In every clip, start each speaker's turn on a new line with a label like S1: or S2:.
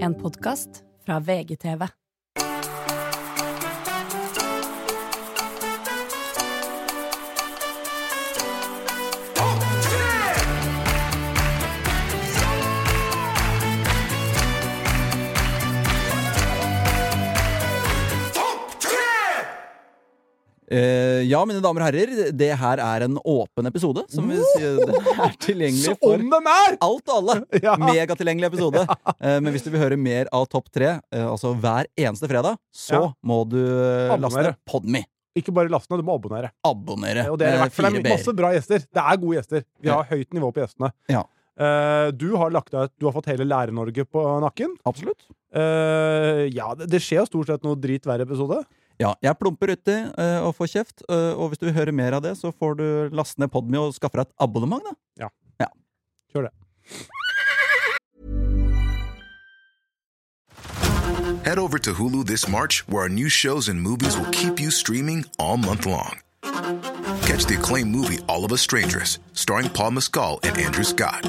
S1: En podkast fra VGTV.
S2: Eh, ja, mine damer og herrer, det her er en åpen episode. Som vil si, det er tilgjengelig for
S3: den er!
S2: alt og alle!
S3: Ja.
S2: Megatilgjengelig episode. Eh, men hvis du vil høre mer av Topp tre, eh, altså hver eneste fredag, så
S3: Ja.
S2: må du eh, laste
S3: Abonnere.
S2: ned Podme.
S3: Ikke bare laste ned, du må abonnere.
S2: Abonnere.
S3: Og det er, i
S2: med
S3: hvert fall-
S2: fire
S3: det er masse
S2: B-er.
S3: bra gjester. Det er gode gjester. Vi har høyt nivå på gjestene.
S2: Ja.
S3: Eh, du har lagt deg Du har fått hele Lære-Norge på nakken.
S2: Absolutt.
S3: Eh, ja, det, det skjer jo stort sett noe drit hver episode.
S2: Ja, jeg plumper uti eh, og får kjeft. eh, og hvis du vil høre mer av det, så får du laste ned Podme og skaffe deg et abonnement, da.
S3: Kjør det.
S4: Head over to Hulu this March, where our new shows and movies will keep you streaming all month long. Catch the acclaimed movie All of Us Strangers, starring Paul Mescal and Andrew Scott.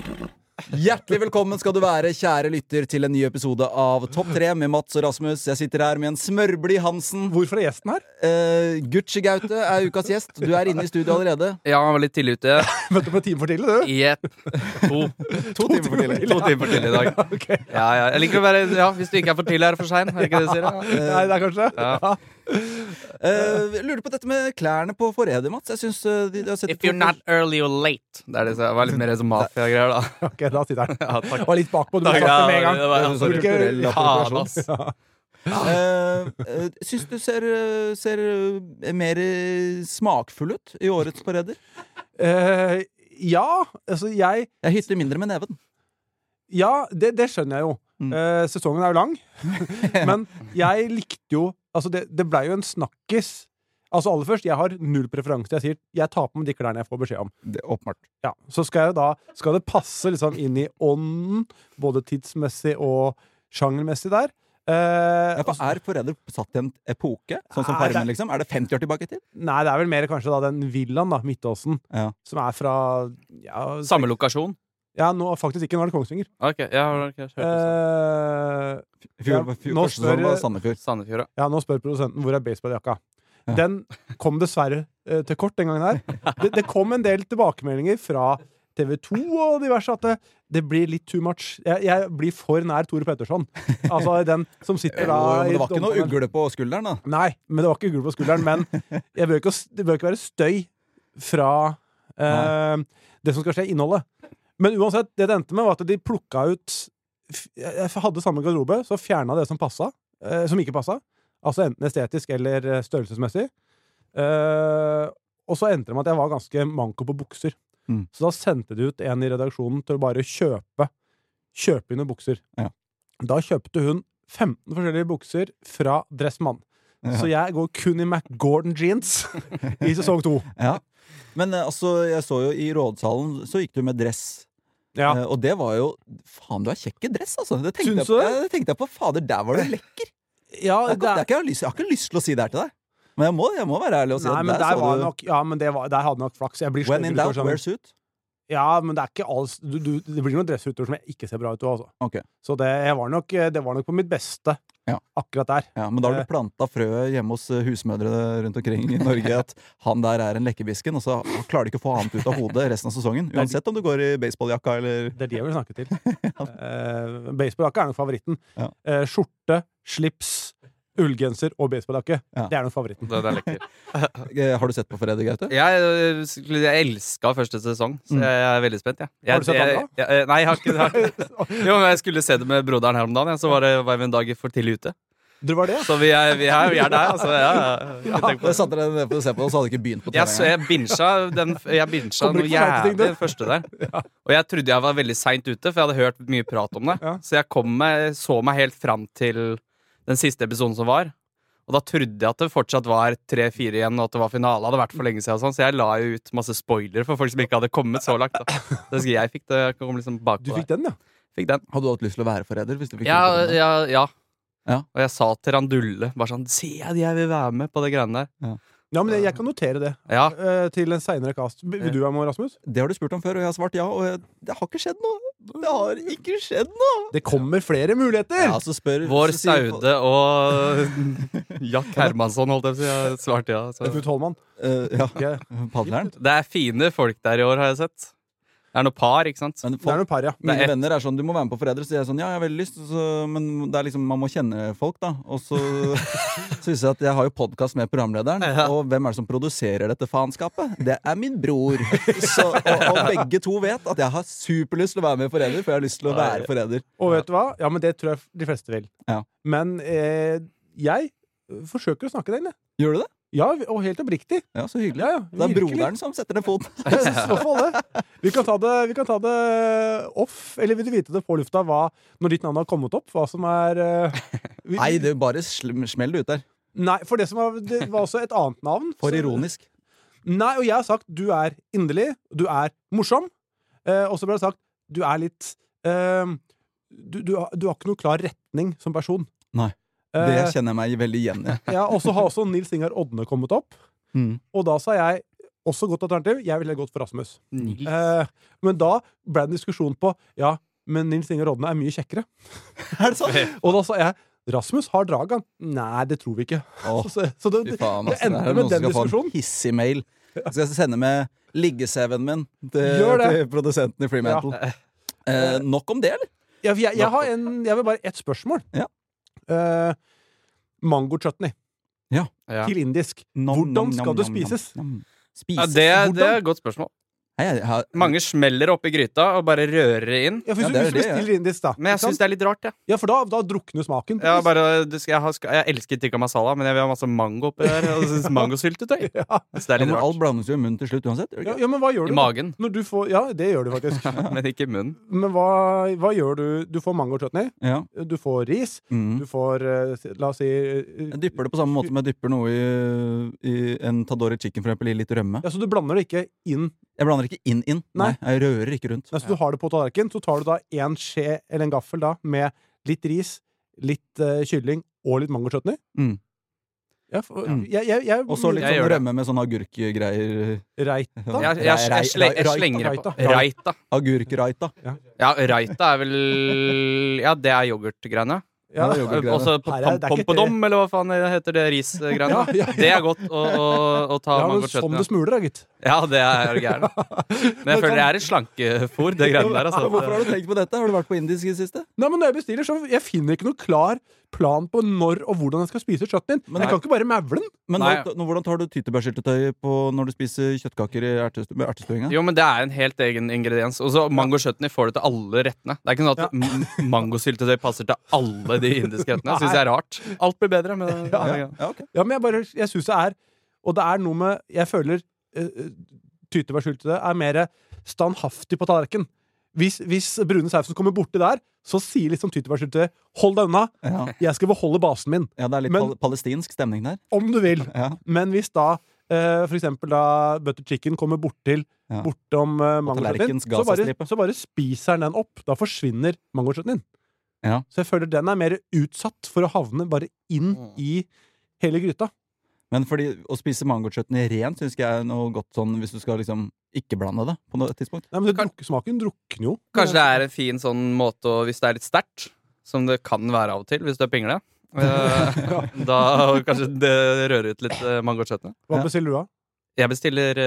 S2: Hjertelig velkommen skal du være, kjære lytter, til en ny episode av Topp 3 med Mats og Rasmus. Jeg sitter her med en smørblid Hansen.
S3: Hvorfor er gjesten her?
S2: Eh, Gucci Gaute er ukas gjest. Du er inne i studio allerede.
S5: Ja, han var litt tidlig ute.
S3: Møtte du på en time for tidlig, du?
S5: Jepp. To.
S2: To timer for tidlig.
S5: To timer for tidlig i dag.
S3: Ok.
S5: Ja, ja. Jeg liker å være Ja, hvis du ikke er for tidlig, er det for sein. Er det ikke det du sier? Ja.
S3: Nei, det er kanskje
S5: Ja.
S2: Eh, jeg lurer på dette med klærne på forræder, Mats. Jeg synes, eh, de, de har sett
S5: If you're not early, you're late. Det er det som det var litt mer som mafia-greier, da.
S3: Ok, da sitter han.
S5: Ja, takk.
S3: Var litt bakpå, du har
S5: Takk,
S3: sagt det
S5: ja,
S3: med en gang.
S5: det var- altså, ja, sorry.
S3: Hvilke-
S5: Faen, ass.
S2: Eh, eh, Syns du ser, eh, ser eh, mer eh, smakfull ut i årets forræder?
S3: Eh, ja, altså jeg
S2: Jeg hytter mindre med neven.
S3: Ja, det, det skjønner jeg jo.
S2: Mm.
S3: Eh, sesongen er jo lang. Men jeg likte jo Altså, det, det blei jo en snakkis. Altså Aller først, jeg har null preferanse. Jeg sier jeg tar på meg de klærne jeg får beskjed om.
S2: åpenbart.
S3: Ja, Så skal jeg jo da Skal det passe liksom inn i ånden, både tidsmessig og sjangermessig der? Eh,
S2: Ja, for
S3: altså-
S2: er forræder satt i en epoke? Sånn som
S3: Nei, det-
S2: Farmen, liksom? Er det 50 år tilbake i tid?
S3: nei, det er vel mer kanskje da den villaen, da, Midtåsen,
S2: Ja.
S3: som er fra ja,
S5: Samme lokasjon?
S3: Ja, nå faktisk ikke. Nå er det Kongsvinger.
S5: Ok, ja, ok, jeg hørte det.
S3: Eh,
S2: Fjor,
S3: Ja,
S2: fjor,
S3: nå
S2: første altså. sesong
S3: spør-
S2: var Sandefjord.
S5: Sandefjord,
S3: Ja, nå spør produsenten hvor er baseballjakka.
S2: Ja.
S3: Den kom dessverre eh, til kort den gangen her. Det, det kom en del tilbakemeldinger fra TV 2 og diverse at det, det blir litt too much. Jeg, jeg blir for nær Tore Petterson. Altså den som sitter da
S2: Jo, men
S3: i
S2: det var ikke noe
S3: dommerpanelet.
S2: ugle på skulderen, da.
S3: Nei, men det var ikke ugle på skulderen. Men jeg bør ikke, å s- det bør ikke være støy fra eh, det som skal skje, innholdet. Men uansett, det det endte med, var at de plukka ut f- Jeg hadde samme garderobe, så fjerna det som passa, eh, som ikke passa. Altså enten estetisk eller eh, størrelsesmessig. Eh, og så endte det med at jeg var ganske manko på bukser.
S2: Mm.
S3: Så da sendte de ut en i redaksjonen til å bare kjøpe Kjøpe inn noen bukser.
S2: Ja.
S3: Da kjøpte hun 15 forskjellige bukser fra Dressmann. Så jeg går kun i McGordon jeans i sesong to.
S2: Ja. Men eh, altså, jeg så jo i rådsalen, så gikk du med dress.
S3: Ja.
S2: Eh, og det var jo Faen, du har kjekk i dress, altså! Det tenkte
S3: Syns
S2: jeg, på-
S3: du det?
S2: Ja, det tenkte jeg på. Fader, der var du lekker!
S3: Ja,
S2: Jeg, har ikke- jeg,
S3: det er-
S2: har ikke lyst, jeg har ikke lyst til å si det her til deg. Men jeg må, jeg må være ærlig og si
S3: Nei,
S2: at
S3: men der,
S2: så
S3: var
S2: du
S3: nok, ja, men det var, der hadde jeg nok flaks. Jeg blir
S2: When
S3: sløv
S2: in
S3: utover
S2: doubt,
S3: sesongen.
S2: wear suit.
S3: Ja, men det er ikke alls du, du, Det blir noen dressruter som jeg ikke ser bra ut av, altså.
S2: Ok.
S3: Så det, jeg var nok, eh, det var nok på mitt beste
S2: Ja.
S3: akkurat der.
S2: Ja, men da
S3: Eh.
S2: har du planta frøet hjemme hos eh, husmødre rundt omkring i Norge at han der er en lekkebisken, og så klarer de ikke å få annet ut av hodet resten av sesongen. Uansett om du går i baseballjakka eller
S3: Det er de jeg vil snakke til. Eh, Baseballjakke er nok favoritten.
S2: Ja.
S3: Eh, skjorte, slips, ullgenser og baseballjakke.
S2: Ja.
S3: Det er nok favoritten.
S5: Det, det er lekker.
S2: Eh, Har du sett på Fredrik Gaute?
S5: Jeg, øh, skulle- jeg elska første sesong, så
S2: Mm.
S5: jeg er veldig spent. Ja. Jeg,
S3: Har du sett
S5: jeg-
S3: andre?
S5: jeg- Nei, jeg har ikke det. Jo, men jeg skulle se det med broderen her om dagen, ja, så var, det, var vi en dag for tidlig ute.
S3: Dere var det?
S5: Så vi er, vi er, vi er der, altså. Ja, ja. Jeg tenker på
S2: Da
S5: det.
S2: satte dere dere ned for å se på, og så hadde dere ikke begynt på
S5: Jeg, så,
S2: TV.
S5: jeg bincha, den, jeg bincha
S3: Kommer
S5: noe
S3: ikke for seint til ting,
S5: jævlig
S3: du.
S5: den første der. Og jeg trodde jeg var veldig seint ute, for jeg hadde hørt mye prat om det.
S3: Ja.
S5: Så jeg kom meg, så meg helt fram til den siste episoden som var. Og da trodde jeg at det fortsatt var tre-fire igjen, og at det var finale. Det hadde vært for lenge siden og sånn, Så jeg la jo ut masse spoilere for folk som ikke hadde kommet så langt. Da. Så jeg husker jeg fikk det. Jeg kom liksom
S3: Du
S5: bakpå
S3: fikk
S5: der.
S3: den, ja?
S5: Fikk den.
S2: Hadde du hatt lyst til å være forræder? hvis du fikk
S5: Ja,
S2: vite om det?
S5: ja, ja.
S2: Ja.
S5: Og jeg sa til Randulle bare sånn Se, jeg vil være med på det greiene der.
S3: Ja, men jeg, jeg kan notere det
S5: Ja,
S3: eh, til en seinere cast. Vil
S2: Eh.
S3: vil du være med, Rasmus?
S2: Det har du spurt om før, og jeg har svart ja. Og jeg, det har ikke skjedd noe! Det har ikke skjedd noe!
S3: Det kommer flere muligheter!
S2: Ja, altså. så spør,
S5: Vår
S2: så sier-
S5: Saude og Jack Hermansson, holdt jeg på å si. Jeg svarte ja. Så.
S3: Knut Holman.
S2: Eh, ja,
S3: Ok.
S2: padleren.
S5: Det er fine folk der i år, har jeg sett. Det er noe par, ikke sant?
S2: Men
S3: Det er
S2: folk,
S3: noen par, ja.
S2: mine
S5: Det er-
S2: venner er sånn Du må være med på Forræder. Så jeg er sånn Ja, jeg har veldig lyst, så, men det er liksom man må kjenne folk, da. Og så syns jeg at jeg har jo podkast med programlederen, og hvem er det som produserer dette faenskapet? Det er min bror. Så, og, og begge to vet at jeg har superlyst til å være med i Forræder, for jeg har lyst til å være forræder.
S3: Og vet du hva? Ja, men Det tror jeg de fleste vil.
S2: Ja.
S3: Men eh, jeg forsøker å snakke deg inn, jeg.
S2: Gjør du det?
S3: Ja, og helt oppriktig.
S2: Ja, så hyggelig.
S3: Ja, ja,
S2: Det er
S3: virkelig.
S2: broderen som setter ned foten.
S3: Jeg synes i hvert fall det. Vi kan ta det, vi kan ta det off, eller vil du vite det på lufta hva, når ditt navn har kommet opp? Hva som er eh, vi,
S2: Nei, det er jo bare slem- smell det ut der.
S3: Nei, for det som var, det var også et annet navn.
S2: For
S3: så-
S2: ironisk.
S3: Nei, og jeg har sagt du er inderlig, du er morsom. Eh, og så ble det sagt du er litt eh, du, du, har- du har ikke noe klar retning som person.
S2: Nei. Det
S3: Eh,
S2: kjenner jeg meg veldig igjen i.
S3: ja, og så har også Nils Ingar Odne kommet opp.
S2: Mm.
S3: Og da sa jeg også godt alternativ. Jeg ville gått for Rasmus.
S5: Nils.
S3: Eh, men da ble det en diskusjon på ja, men Nils Ingar Odne er mye kjekkere.
S2: Er det sånn?
S3: Og da sa jeg Rasmus har drag, han. Nei, det tror vi ikke.
S2: Åh.
S3: Så, så det,
S2: Fy
S3: det,
S2: faen, ass. Det
S3: endte
S2: er
S3: med
S2: noen som skal
S3: den
S2: få en
S3: diskusjonen.
S2: hissig mail. Jeg skal sende med liggeseven min til,
S3: Gjør det.
S2: til produsenten i Fremantle. Eh, nok om det, eller?
S3: Ja, for jeg, jeg, har en, jeg vil bare ett spørsmål.
S2: Ja.
S3: Eh, mango chutney
S5: Ja.
S3: til indisk. Hvordan skal det spises?
S5: Ja,
S2: Spises?
S5: det, det er
S2: Hvordan?
S5: et godt spørsmål.
S2: Nei, jeg har-
S5: Mange smeller oppi gryta og bare rører det inn.
S3: Ja, for
S2: Ja, det
S3: hvis du
S2: er
S3: hvis du
S2: det, ja.
S3: bestiller indisk, da.
S5: Men jeg syns det er litt rart, jeg.
S3: Ja, for da, da drukner smaken. på
S5: Jeg, har
S3: is.
S5: bare, du skal, jeg, har, skal- jeg elsker tikka masala, men jeg vil ha masse mango oppi der. Og så synes mangosyltetøy.
S3: Ja.
S5: Så det er
S2: Ja,
S5: litt
S2: men alt
S5: rart.
S2: blandes jo i munnen til slutt uansett. gjør det
S3: Ja,
S2: ikke?
S3: ja, men hva gjør
S5: I
S3: du? da?
S5: magen,
S3: Når du får, ja, det gjør du faktisk.
S5: men ikke i munnen.
S3: Men hva, hva gjør du? Du får mango chutney,
S2: Ja.
S3: du får ris,
S2: Mm.
S3: du får eh, si- La oss si eh,
S2: Jeg dypper det på samme måte som jeg dypper noe i, i en Tadori chicken, for eksempel, i litt rømme.
S3: Ja, Så du blander det ikke inn.
S2: Jeg blander ikke inn inn.
S3: Nei.
S2: Nei, jeg rører ikke rundt.
S3: Nei, så du har det på tallerkenen, så tar du da en skje eller en gaffel da med litt ris, litt eh, kylling og litt mango chutney.
S2: Mm.
S3: Ja, for,
S2: Mm.
S3: Jeg, jeg, jeg,
S2: Og så litt
S5: Jeg
S2: sånn
S5: gjør det.
S2: rømme med sånn agurkgreier.
S3: Reita.
S5: Jeg, jeg, jeg, jeg, sle- jeg slenger det på. Raita.
S2: Agurkraita.
S5: Ja, raita er vel Ja, det er yoghurtgreiene.
S3: Ja.
S2: det er yoghurtgreiene.
S5: Også
S3: Her er- det er ikke
S5: pompedom, eller hva faen heter det risgreiene?
S3: Ja, ja, ja.
S5: Det er godt å, å, å ta
S3: Ja, men som
S5: mangochutney.
S3: det smuler, da, gitt.
S5: Ja, det er gærent. Men
S3: Men sånn-
S5: jeg føler det
S3: kan-
S5: er et slankefôr, det greiene der.
S2: Hvorfor har
S5: Altså.
S2: du tenkt på dette? Har du vært på indisk i det siste?
S3: Nei, men når jeg bestiller, så jeg finner ikke noen klar plan på når og hvordan jeg skal spise chutneyen. Men jeg kan ikke bare mævle den.
S2: Men
S5: Nei.
S2: nå, nå, hvordan tar du tyttebærsyltetøy på når du spiser kjøttkaker i ertest- med ertestuinga?
S5: Jo, men det er en helt egen ingrediens. Og så mangochutney får du til alle rettene. Det er ikke sånn at m- mangosyltetøy passer til alle de indiske rettene. Syns jeg er rart. Alt blir bedre med
S3: Ja,
S5: ja,
S2: Ja, ok.
S3: Ja, men jeg bare, jeg synes det er Og det er noe med, jeg føler uh, Tytebærsyltetøy er mer standhaftig på tallerken hvis, hvis brune sausen kommer borti der Så sier liksom tytebærsyltetøy Hold deg unna,
S2: Ja.
S3: jeg skal beholde basen min
S2: ja, det er litt
S3: Men-
S2: pal palestinsk stemning der.
S3: Om du vil
S2: Ja.
S3: Men hvis da, eh, for eksempel da Butter chicken kommer bort til
S2: Ja.
S3: Bortom uh,
S2: tallerkenens
S3: så, bare-
S2: Gazastripe.
S3: så bare spiser den den opp Da forsvinner mangoskjøtten din
S2: Ja.
S3: Så jeg føler den er mer utsatt For å havne bare inn i hele gryta
S2: Men fordi å spise mangochutney rent syns jeg er noe godt sånn hvis du skal liksom ikke blande det på noe tidspunkt.
S3: Nei, men det druk, smaken drukner jo.
S5: Kanskje det er en fin sånn måte å, hvis det er litt sterkt, som det kan være av og til hvis du er pingle. eh, da kanskje det rører ut litt eh, mangochutney.
S3: Hva
S2: Ja.
S3: bestiller du da?
S5: Jeg bestiller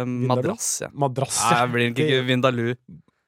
S5: eh, madrass, jeg.
S3: Madrass.
S5: Nei, jeg blir nok ikke Vindaloo.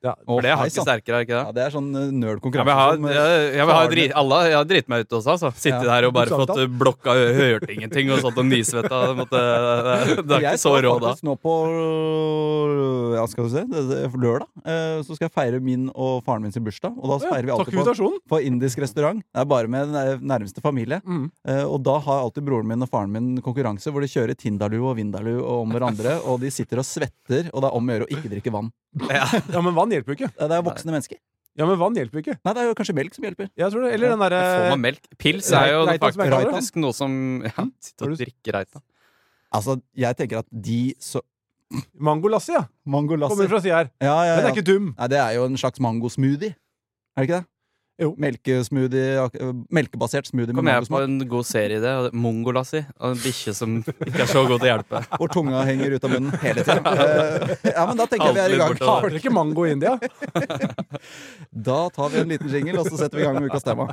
S3: Ja.
S2: Å,
S5: For det er
S2: hei,
S5: hakket
S2: sann.
S5: sterkere, er ikke
S2: Ja,
S5: det?
S2: det er sånn eh,
S5: Jeg
S2: nerd-konkurranse.
S5: vil ha,
S2: som, eh,
S5: jeg, jeg vil ha
S2: farlig.
S5: drit, alle, jeg har dritt meg ut også, altså. Sitte
S2: Ja,
S5: der og bare
S3: bokstavelig
S5: fått eh, blokka ø- hørte ingenting og satt og nysvetta. Det, måtte- det er
S2: Jeg
S5: ikke så
S2: så
S5: rå da.
S2: faktisk nå på eh, ja, skal vi se, det, det, for lørdag eh, så skal jeg feire min og faren min sin bursdag. Og da
S3: Ja,
S2: feirer vi
S3: Takk for
S2: alltid på,
S3: invitasjonen!
S2: på indisk restaurant. Det er bare med den eh, nærmeste familie.
S3: Mm.
S2: Eh, og da har alltid broren min og faren min konkurranse hvor de kjører Tindaloo og Vindaloo og om hverandre, og de sitter og svetter, og det er om å gjøre å ikke drikke vann.
S3: Ja, men vann hjelper jo ikke.
S2: Eh, Det er voksne mennesker.
S3: Ja, men vann hjelper jo ikke.
S2: Nei, det er jo kanskje melk som hjelper.
S3: Jeg tror det. Eller
S2: eh,
S3: den
S5: Får
S3: derre
S5: man melk? Pils er jo
S3: Reitan, som jeg
S2: kaller det.
S5: faktisk noe som Ja,
S2: Hm?
S5: sitte
S3: Har
S5: og
S3: du-
S5: drikke Reitan.
S2: Altså, jeg tenker at de så
S3: mangolassi, eh, ja. Kommer
S2: Mangolasser.
S3: fra sida her.
S2: Ja, ja,
S3: Den
S2: ja.
S3: er ikke dum.
S2: Nei, det er jo en slags mangosmoothie. Er det ikke det?
S3: Jo.
S2: Melkesmoothie, ak- øh, melkebasert smoothie med
S5: Kom jeg på
S2: mangosmak.
S5: en god serie i det. og det- Mongolassi. Og en bikkje som ikke er så god til å hjelpe.
S2: Hvor tunga henger ut av munnen hele tiden. Eh, ja, men da tenker jeg vi er i
S5: Aldri borte.
S2: gang.
S3: Har dere ikke mango i India?
S2: Da tar vi en liten jingle, og så setter vi i gang med ukas tema.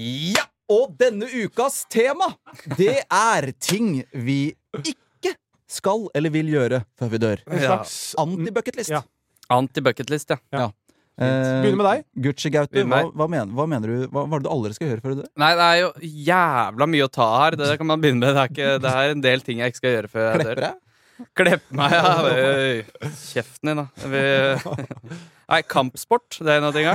S2: Ja, og denne ukas tema, det er ting vi ikke skal eller vil gjøre før vi dør.
S3: En
S5: Ja.
S3: slags
S2: Anti-bucketlist.
S3: Ja.
S5: Anti-bucketlist, ja.
S2: Begynn
S3: Begynner med deg.
S2: Eh, Gucci Gaute,
S5: Begynn med
S2: hva,
S5: meg.
S2: hva, mener, hva mener du Hva hva er det du aldri skal gjøre før du dør?
S5: Nei, det er jo jævla mye å ta her. Det kan man begynne med. Det er, ikke, det er en del ting jeg ikke skal gjøre før jeg dør.
S2: Klepper jeg?
S5: Kleppe meg, ja. Øy, Kjeften din, da. Vi... Nei, kampsport. Det er en av tinga.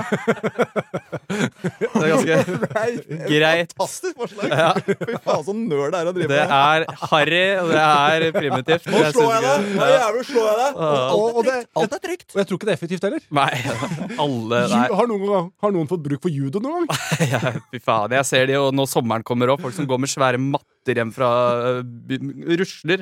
S5: Det er ganske greit.
S2: Fantastisk forslag!
S5: Ja.
S2: Fy faen, så nøl det er å drive
S5: Det er harry, og det er primitivt.
S2: Nå slår jeg deg!
S5: synes
S2: Nå
S5: ikke-
S2: jævlig slår jeg deg!
S3: Og, og, det,
S2: Alt er trygt.
S3: og jeg tror ikke det er effektivt heller.
S5: Nei. Alle
S3: Ju-
S5: Nei.
S3: Har noen, gang- har noen fått bruk for judo noen gang?
S5: Jeg, fy faen, jeg ser det jo når sommeren kommer opp. Folk som går med svære matter hjem fra øh, by- Rusler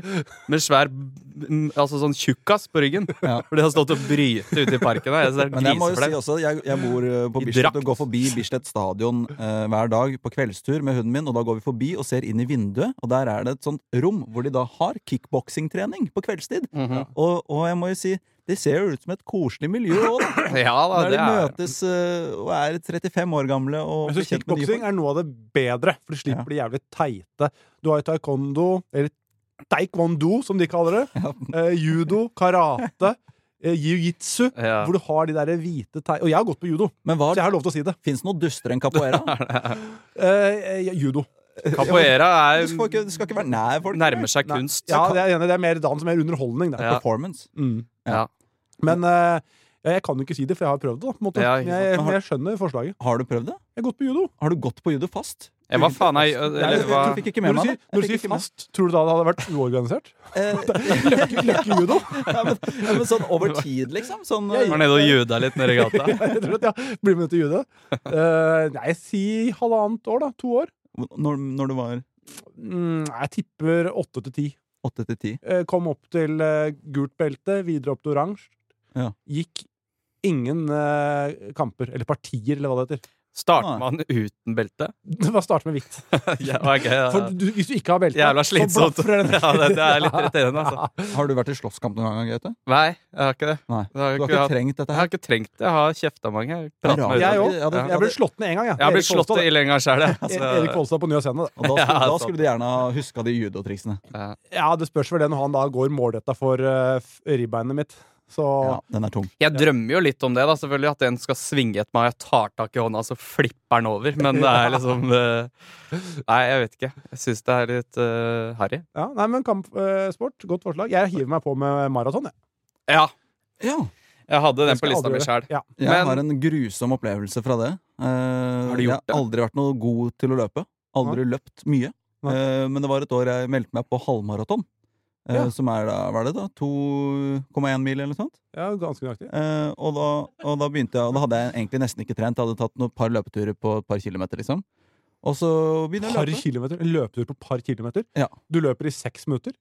S5: med svær mm, Altså sånn tjukkas på ryggen.
S2: Ja.
S5: For de har stått og brytet ute i parken her. Jeg ser
S2: Men jeg må jo si
S5: griseflau.
S2: også, jeg, jeg bor eh, på
S5: I
S2: Bislett
S5: drakt.
S2: og går forbi Bislett stadion eh, hver dag på kveldstur med hunden min. Og da går vi forbi og ser inn i vinduet, og der er det et sånt rom hvor de da har kickboksingtrening på kveldstid.
S3: Mhm.
S2: og, og jeg må jo si, det ser jo ut som et koselig miljø òg, da.
S5: Ja da,
S2: Når de
S5: det er
S2: møtes eh, og er 35 år gamle og
S3: Jeg synes
S2: blir kjent med nye
S3: Kickboksing
S2: folk.
S3: er noe av det bedre, for du slipper de jævlig teite. Du har jo taekwondo, eller taekwondo, som de kaller det. Eh, judo, karate, eh, jiu-jitsu.
S5: Ja.
S3: Hvor du har de der hvite tei... Og jeg har gått på judo,
S2: Men
S3: så jeg
S2: hva
S3: har lov til å si det.
S2: Fins det noe dustere enn capoeira?
S3: Eh, eh, judo.
S5: Capoeira
S2: Du
S5: er,
S2: skal ikke, du skal ikke være nær folk.
S5: nærmer seg
S3: Nei.
S5: kunst.
S3: Ja, det er, enig, det er mer dans, mer underholdning. Det.
S5: Ja.
S2: Performance.
S3: Mm.
S5: Ja.
S3: Men eh, jeg kan jo ikke si det, for jeg har prøvd det. da, på en måte.
S5: Ja, ikke
S3: Men
S5: sant.
S3: jeg, men jeg skjønner forslaget.
S2: Har du prøvd det?
S3: Jeg har gått på judo.
S2: Har du gått på judo fast?
S5: Jeg, hva faen er eller,
S2: Jeg,
S5: hva?
S2: jeg fikk ikke med
S3: når du
S2: meg det.
S3: sier, når
S2: Jeg
S3: du
S2: fikk
S3: sier
S2: ikke med-
S3: fast, tror du da det hadde vært uorganisert?
S2: Eh,
S3: Ikke judo?
S2: ja, men, ja, men sånn over tid, liksom? Sånn,
S5: Var nede og juda litt nede i gata.
S3: Jeg tror at jeg blir med til judo. Eh, nei, si halvannet år, da. To år.
S2: når, når du var
S3: Mm, jeg tipper åtte til ti.
S2: åtte til ti?
S3: Eh, kom opp til eh, gult belte, videre opp til oransje.
S2: Ja.
S3: Gikk ingen eh, kamper, eller partier, eller hva det heter.
S5: Starter man uten belte?
S3: Det var start med vikt.
S5: Ja, ok, ja.
S3: For du, hvis du ikke har belte,
S5: Jævla
S3: så
S5: slitsomt.
S3: blaffer den.
S5: Ja, det, det er litt irriterende, altså.
S2: Har du vært i slåsskamp noen gang, Gaute?
S5: Nei, jeg har ikke det.
S2: Nei.
S5: Det
S2: Du
S5: har jeg
S2: har
S5: ikke
S2: ikke
S5: hatt.
S2: trengt dette
S5: Jeg
S2: her?
S5: har ikke trengt det. Jeg har kjefta mange. Jeg
S2: Det er
S5: pratet
S2: rart.
S5: med
S3: Jeg
S5: dem.
S3: òg.
S2: Ja, det-
S3: Jeg ble slått ned en gang, jeg.
S5: Jeg har blitt
S3: Erik Kolstad,
S5: slått i lenge sjøl, jeg.
S3: E- Erik
S5: Altså,
S3: Kolstad på Njø Scene. da.
S2: Og da, skulle,
S5: Ja, altså.
S2: da
S5: sant.
S2: skulle du gjerne ha huska de judotriksene.
S3: Ja, det spørs vel det når han da går målretta for eh, f- ribbeinet mitt. Så
S2: Ja, den er tung.
S5: jeg drømmer jo litt om det, da, selvfølgelig. At en skal svinge etter meg, og jeg tar tak i hånda, så flipper den over. Men det er liksom eh, Nei, jeg vet ikke. Jeg syns det er litt eh, harry.
S3: ja, Nei, men kampsport, eh, godt forslag. Jeg hiver meg på med maraton, jeg.
S5: Ja,
S2: Ja.
S5: jeg hadde
S3: Det
S5: den
S3: skal
S5: på
S3: jeg
S5: lista
S3: aldri
S5: mi
S3: gjøre.
S5: sjæl.
S3: Ja.
S2: Jeg
S5: Men-
S2: har en grusom opplevelse fra det. har
S5: du
S2: jeg
S5: gjort
S2: har
S5: det?
S2: aldri vært noe god til å løpe. Aldri løpt mye.
S3: Nei.
S2: Eh, men det var et år jeg meldte meg på halvmaraton. eh,
S3: Ja.
S2: Som er da, hva er det da, 2,1 mil eller noe sånt.
S3: ja, ganske nøyaktig.
S2: Eh, og, da, og da begynte jeg Og da hadde jeg egentlig nesten ikke trent. Jeg hadde tatt noen par løpeturer på et par kilometer, liksom. Og så begynner jeg å
S3: Par
S2: løpe.
S3: kilometer, En løpetur på par kilometer?
S2: Ja.
S3: Du løper i seks minutter?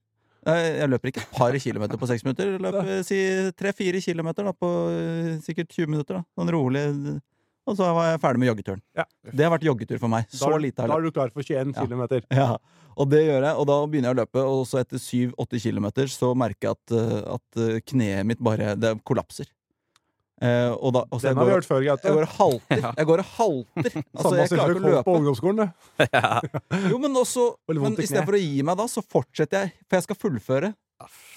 S2: Eh, Jeg løper ikke et par kilometer på seks minutter. Jeg Løper si tre-fire kilometer da, på eh, sikkert 20 minutter. Da. Sånn rolig. Og så var jeg ferdig med joggeturen.
S3: Ja.
S2: Det har vært joggetur for meg. Så
S3: da, er-
S2: lite har jeg
S3: da er du klar for 21
S2: Ja.
S3: km.
S2: Ja, og det gjør jeg, og da begynner jeg å løpe, og så etter 7-8 kilometer så merker jeg at, eh, at eh, kneet mitt bare det kollapser. Eh, og da, og så jeg
S3: Den har vi
S2: går,
S3: hørt før, Gaute.
S2: jeg går og halter. Jeg går og halter. Altså,
S3: Samme
S2: jeg
S3: som
S2: klarer ikke
S3: folk
S2: å
S3: holdt på
S2: løpe.
S3: ungdomsskolen. det.
S2: Jo, men også, men
S3: Veldig vondt i
S2: i stedet
S3: kneet.
S2: for å gi meg da, så fortsetter jeg, for jeg skal fullføre.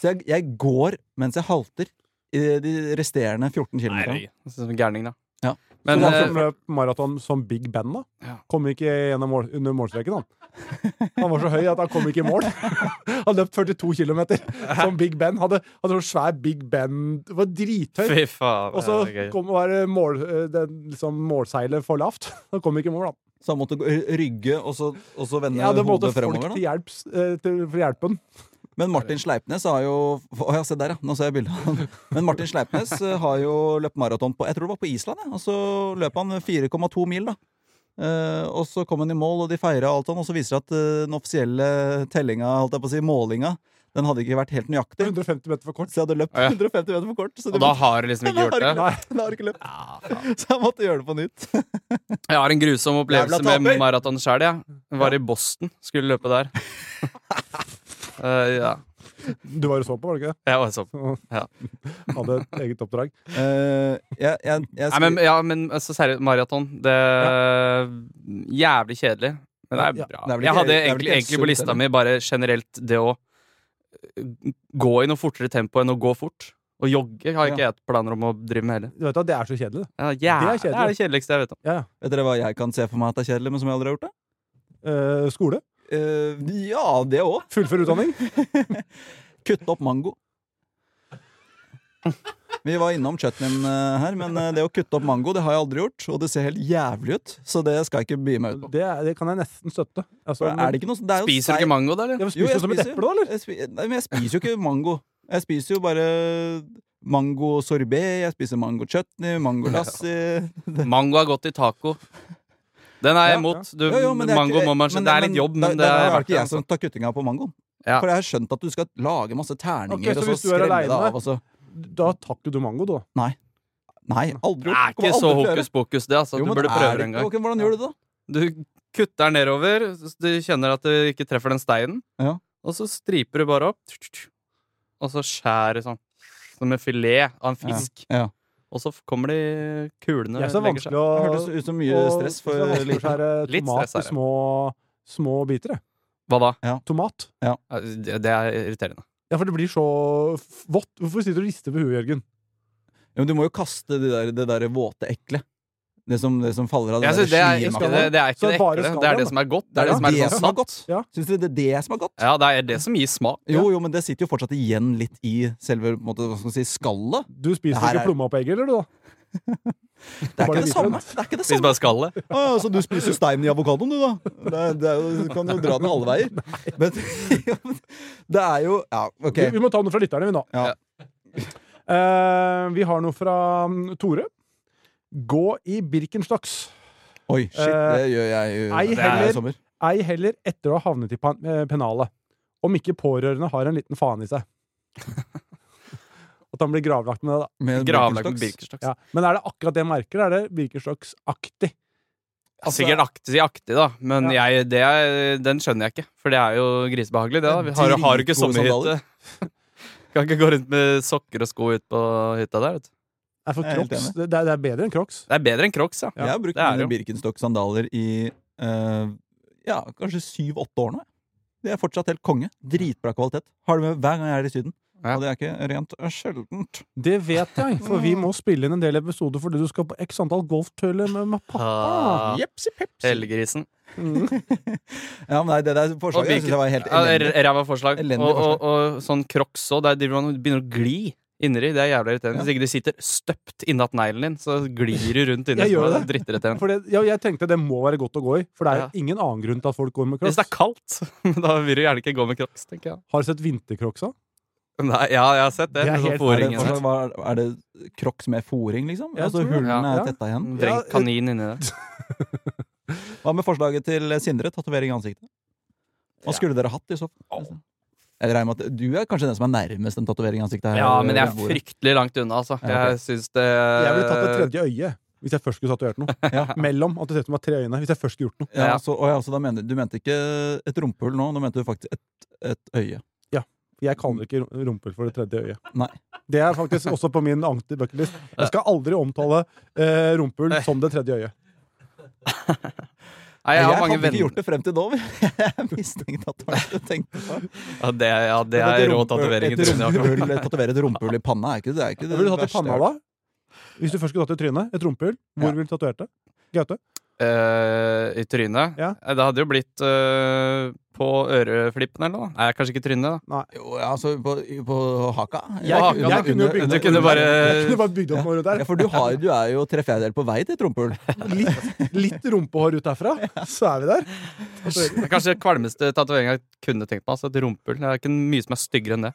S2: Så jeg, jeg går mens jeg halter i de resterende 14 kilometerne.
S5: Som en gærning, da.
S2: Ja.
S3: Så
S5: Men
S3: han som
S5: eh,
S3: løp maraton som big band, da,
S5: Ja.
S3: kom ikke gjennom mål, under målstreken, han. Han var så høy at han kom ikke i mål. Han løp 42 km som big band. Hadde, hadde sånn svær big band. Det var drithøy.
S5: fy faen.
S3: Og så
S5: ja, det er gøy.
S3: kom var det mål, den, liksom, målseilet for lavt. Han kom ikke i mål, da.
S2: Så jeg måtte gå- rygge, og så, og så vende
S3: Ja, det måtte
S2: hodet
S3: folk
S2: fremover. Da.
S3: til, hjelps, eh, til for hjelpen.
S2: Men Martin Sleipnes har jo Å ja, se der, ja. Nå ser jeg bildet av han. Men Martin Sleipnes eh, har jo løpt maraton på Jeg tror det var på Island, ja. Og så løp han 4,2 mil, da. Eh, og så kom han i mål, og de feira alt sånn, og så viser det at eh, den offisielle tellinga, holdt jeg på å si, målinga, den hadde ikke vært helt nøyaktig.
S3: 150 meter for kort.
S2: Så jeg hadde løpt
S5: Å, ja.
S2: 150 meter for kort. Så de
S5: Og da
S2: måtte-
S5: har du liksom ikke gjort det?
S2: Nei, den har ikke løpt. Så jeg måtte gjøre det på nytt.
S5: Jeg har en grusom opplevelse
S2: Jævla
S5: med
S2: taper.
S5: maraton sjøl, jeg. Ja. Var i Boston, skulle løpe der. Eh, ja.
S3: Du var jo så på, var du ikke det?
S5: Jeg var så
S3: Hadde et eget oppdrag.
S2: Eh, jeg, jeg, jeg
S5: Nei, men, ja, men altså, seriøst, maraton Det er Jævlig kjedelig. Men det er
S3: Ja,
S5: bra.
S2: det er vel ikke-
S5: jeg hadde
S2: det er vel
S5: egentlig,
S2: ikke helt
S5: egentlig på
S2: sunt,
S5: lista
S2: eller?
S5: mi bare generelt det å eh, gå i noe fortere tempo enn å gå fort. Og jogge har ikke jeg planer om å drive med heller.
S3: Du vet at det er så kjedelig. det.
S5: Ja, jævlig,
S3: Det er
S5: det er det kjedeligste jeg vet om.
S3: Ja, ja.
S2: vet dere hva jeg kan se for meg at er kjedelig, men som jeg aldri har gjort? det?
S3: Eh, skole.
S2: Eh, ja, det òg.
S3: Fullfør utdanning.
S2: Kutte opp mango. Vi var innom chutneyen eh, her, men eh, det å kutte opp mango det har jeg aldri gjort. Og det ser helt jævlig ut, så det skal jeg ikke by meg ut på.
S3: Det, er- det kan jeg nesten støtte. Altså,
S2: Er det ikke noe, sånn- det er jo
S5: Spiser du ikke mango, da, eller?
S3: Jeg spiser som et eple, da, eller?
S2: Jeg spi- nei, men jeg spiser jo ikke mango. Jeg spiser jo bare mango sorbet, jeg spiser mango chutney, mango lassi
S5: Mango er godt i taco. Den er
S3: Ja,
S5: jeg imot. Du,
S2: Jo, jo, men det er
S5: mango
S2: ikke-
S5: må man
S2: men-
S5: Det er litt
S2: men-
S5: jobb,
S2: da-
S5: men
S2: da
S5: det er
S2: er
S5: verdt
S2: ikke
S5: det. altså.
S2: jeg som tar kuttinga på mangoen.
S5: Ja.
S2: For jeg har skjønt at du skal lage masse terninger,
S3: Ok, så
S2: og
S3: hvis
S2: så
S3: du er
S2: skrelle det
S3: alene-
S2: av. Og så.
S3: Da tar ikke du mango, da.
S2: Nei, aldri
S5: Det
S2: gjort. Kommer
S5: er ikke så
S2: aldri til å gjøre.
S5: hokus pokus, det. Altså.
S2: Jo, men
S5: Du burde
S2: er
S5: prøve
S2: det
S5: det en
S2: ikke-
S5: gang.
S2: ok, Hvordan gjør du det, da?
S5: Du kutter den nedover, så du kjenner at du ikke treffer den steinen,
S2: Ja.
S5: og så striper du bare opp, og så skjærer sånn. Som en filet av en fisk.
S2: Ja.
S5: Og så kommer de kulene
S3: Jeg synes det er
S5: legger seg.
S3: vanskelig å
S2: Det hørtes ut som mye
S3: og-
S2: stress
S3: jeg synes det
S2: for
S3: er vanskelig å
S2: liten.
S3: skjære
S5: Litt
S3: tomat
S5: stress
S3: i
S5: er det.
S3: små, små biter. jeg.
S5: Hva da?
S3: Tomat.
S5: Ja, Det det er irriterende.
S3: Ja, for det blir så f- vått. Hvorfor sitter du og rister på huet, Jørgen?
S2: Ja, men du må jo kaste det der, det der våte, ekle. Det som, det som faller av det
S5: Jeg synes det,
S2: der
S5: er ikke,
S2: slimaktige.
S5: det, det
S3: Så
S5: er ikke det
S3: bare
S5: ekle. Det
S3: skallen,
S5: er
S3: da.
S5: det som er godt.
S2: Det er jo det
S5: litt
S2: som
S5: sånn
S2: er godt.
S3: Ja.
S2: Syns dere det er det som er godt?
S5: Ja, det er det som gir smak.
S2: Jo, jo, men det sitter jo fortsatt igjen litt i selve på en måte, hva skal man si, skallet.
S3: Du spiser
S2: Det her
S3: ikke
S2: er-
S3: plomma på egget, eller du, da?
S2: Det er
S3: Bare
S2: ikke det
S3: litt
S2: samme.
S3: rundt.
S2: Det er ikke det
S5: Hvis
S2: samme.
S5: bare skallet.
S2: Å, ja, Ah, så du spiser steinen i avokadoen, du, da? Det, er- det er jo, du kan jo dra den alle veier. Men det er jo Ja, OK.
S3: Vi, vi må ta noe fra lytterne, vi nå.
S2: Ja.
S3: Eh, vi har noe fra mm, Tore. Gå i Birkenstocks.
S2: Oi, shit, det gjør jeg jo
S3: Ei
S2: det er
S3: heller-
S2: i sommer.
S3: Ei heller etter å ha havnet i pan- eh, pennalet. Om ikke pårørende har en liten faen i seg. At han blir gravlagt med det, da.
S2: Med
S5: Gravlagt med
S2: Birkenstocks.
S5: Birkenstocks.
S3: Ja. Men er det akkurat det jeg merker? Er det Birkenstocks-aktig?
S2: Altså-
S5: Sikkert aktig, aktig, da, men
S3: Ja.
S5: jeg, det er, den skjønner jeg ikke. For det er jo grisebehagelig, det. da Vi har, har ikke
S2: Dritgode
S5: sommerhytte. Kan ikke gå rundt med sokker og sko ut på hytta der. Vet du.
S3: Er for
S2: Jeg er helt
S3: Crocs?
S2: enig.
S3: Det, det er- det er bedre enn Crocs.
S5: Det er bedre enn Crocs, ja.
S2: Jeg har brukt
S5: det er
S2: mine
S5: jo.
S2: Birkenstock-sandaler i eh, ja, kanskje syv-åtte år nå. jeg. Det er fortsatt helt konge. Dritbra kvalitet. Har det med hver gang jeg er i Syden.
S5: Ja.
S2: Og det er ikke rent sjeldent.
S3: Det vet jeg, for vi må spille inn en del episoder fordi du skal på x antall golftøller med, med pappa.
S5: Ah,
S2: Jepsi pepsi.
S5: Hellegrisen.
S2: Ja, men nei, det der forslaget jeg synes jeg var helt
S5: Ja,
S2: elendig.
S5: r- Ræva forslag.
S2: Elendig
S5: Og, og, og sånn Crocs òg. Der driver man og begynner å gli inneri. Det er jævlig irriterende. Hvis ikke du sitter støpt innatt neglen din, så glir du rundt inni.
S3: Jeg gjør
S5: sånn,
S3: det.
S5: er Drittirriterende.
S3: For det, ja, jeg tenkte det må være godt å gå i, for det er
S5: Ja.
S3: ingen annen grunn til at folk går med Crocs.
S5: Hvis det er kaldt, da vil du gjerne ikke gå med Crocs, tenker jeg.
S3: Har du sett vintercrocs òg?
S5: Nei, ja, jeg har sett
S3: Det
S5: det.
S3: er
S5: med sånn
S3: helt-
S2: Er det,
S5: forring og sånt.
S2: forslag, hva, er det crocs med fòring, liksom?
S3: Jeg
S2: altså
S3: tror det.
S2: hullene
S3: Ja.
S2: er tetta igjen?
S3: Ja,
S5: Sånn Vrengt kanin inni det.
S2: Hva med forslaget til Sindre? Tatovering i ansiktet? Hva skulle dere hatt i så fall? Jeg regner med at Du er kanskje den som er nærmest en tatovering i ansiktet. her
S5: Ja, men jeg er
S2: ved bordet.
S5: fryktelig langt unna, altså.
S2: Ja, ok.
S5: Jeg syns det
S3: Jeg ville tatt
S5: Eh,
S3: det tredje øyet hvis jeg først skulle tatovert noe.
S2: Ja.
S3: Mellom at det ser ut som jeg har tre øyne. Hvis jeg først skulle gjort noe.
S2: Ja,
S5: Ja.
S2: så, og ja, så da mener, du mente ikke et rumpehull nå, nå mente du faktisk et, et øye.
S3: For jeg kaller ikke rum- rumpehull for det tredje øyet.
S2: Nei.
S3: Det er faktisk også på min anti-bucketlist. Jeg skal aldri omtale eh, rumpehull som det tredje øyet.
S5: Nei, jeg har mange
S2: hadde ikke
S5: venner
S2: gjort det frem til nå. men Jeg mistenkte at det var det du tenkte på.
S5: ja, det, ja, det er rå tatovering. i
S2: Et
S5: trynet, Jakob.
S2: rumpehull, tatovere et rumpehull i panna, er ikke det, det, er ikke det
S3: Hva ville du tatt i
S2: verste jeg
S3: panna,
S2: har
S3: da?
S2: hørt.
S3: Hvis du først skulle tatt i trynet? Et rumpehull? Hvor
S2: Ja.
S3: ville du tatovert det? Gaute?
S5: Eh, I trynet?
S3: Ja.
S5: Eh, Det hadde jo blitt eh, på øreflippen eller noe. Nei, kanskje ikke trynet, da.
S2: Jo, ja, altså på, på haka.
S5: Jeg- haka,
S2: Under-
S3: kunne
S5: jeg
S3: jo
S2: under-
S3: bygd-
S5: Du kunne
S2: under-
S5: bare-
S3: Jeg kunne bare bygd opp noe rundt
S2: Ja,
S3: der.
S2: for du, har, du er jo tre fjerdedeler på vei til et rumpehull.
S3: Litt, litt rumpehår ut derfra, så er vi der. Tatovering.
S5: Det er kanskje den kvalmeste tatoveringa jeg kunne tenkt meg. Altså et rumpehull. Det er ikke mye som er styggere enn det.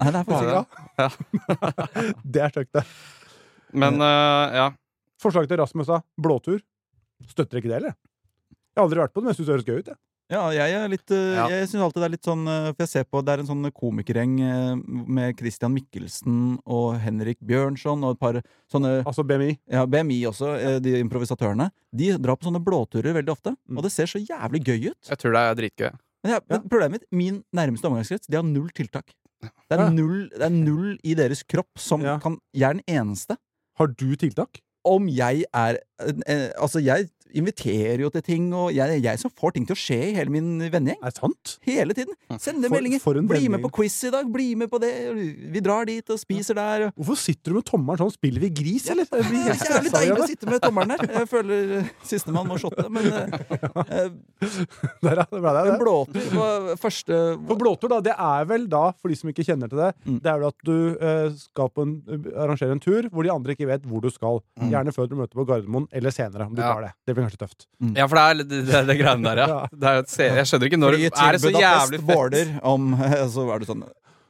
S2: Nei, det er faktisk
S5: Ja.
S2: ikke
S3: Det er stygt, det.
S5: Men eh, ja.
S3: Forslag til Rasmus, da. Blåtur. Støtter ikke det, eller? Jeg har aldri vært på det, men jeg syns det høres gøy ut. Jeg.
S2: Ja, jeg er litt eh,
S5: Ja.
S2: Jeg synes alltid det er litt sånn eh, For jeg ser på, det er en sånn komikergjeng eh, med Christian Mikkelsen og Henrik Bjørnson og et par sånne
S3: Altså BMI.
S2: ja, BMI også, eh, de improvisatørene. De drar på sånne blåturer veldig ofte,
S3: Mm.
S2: og det ser så jævlig gøy ut.
S5: Jeg tror det er dritgøy.
S2: Men, jeg, men problemet mitt, min nærmeste omgangskrets, de har null tiltak. Det er
S3: Ja.
S2: null, det er null i deres kropp som
S3: Ja.
S2: kan Jeg er den eneste.
S3: Har du tiltak?
S2: Om jeg er eh, Altså, jeg inviterer jo til ting, og jeg, det er jeg som får ting til å skje i hele min vennegjeng.
S3: Er det sant?
S2: Hele tiden. Sende
S3: For-
S2: meldinger.
S3: for en
S2: bli med
S3: vending.
S2: på quiz i dag, bli med på det. Vi drar dit og spiser der.
S3: Hvorfor sitter du med tommelen sånn? Spiller vi gris, eller? Jeg blir
S2: Det er
S3: helt
S2: jævlig
S3: stressa
S2: deilig å
S3: av det.
S2: sitte med tommelen der. Jeg føler eh, sistemann må shotte, men eh, eh,
S3: Der, ja, det ble det,
S2: en
S3: det.
S2: blåtur var første
S3: For blåtur, da, det er vel da, for de som ikke kjenner til det,
S2: Mm.
S3: det er vel at du eh, skal på en, arrangere en tur hvor de andre ikke vet hvor du skal.
S2: Mm.
S3: Gjerne før du møter på Gardermoen, eller senere, om du
S5: Ja.
S3: tar det. Det blir kanskje tøft.
S5: Ja, for det er litt- det, det, er det greiene der, ja.
S3: Ja.
S5: Det er jo et se jeg skjønner ikke når
S2: Fly
S5: Er det så
S2: til
S5: jævlig
S2: Budapest
S5: fett?
S2: border om Så er det sånn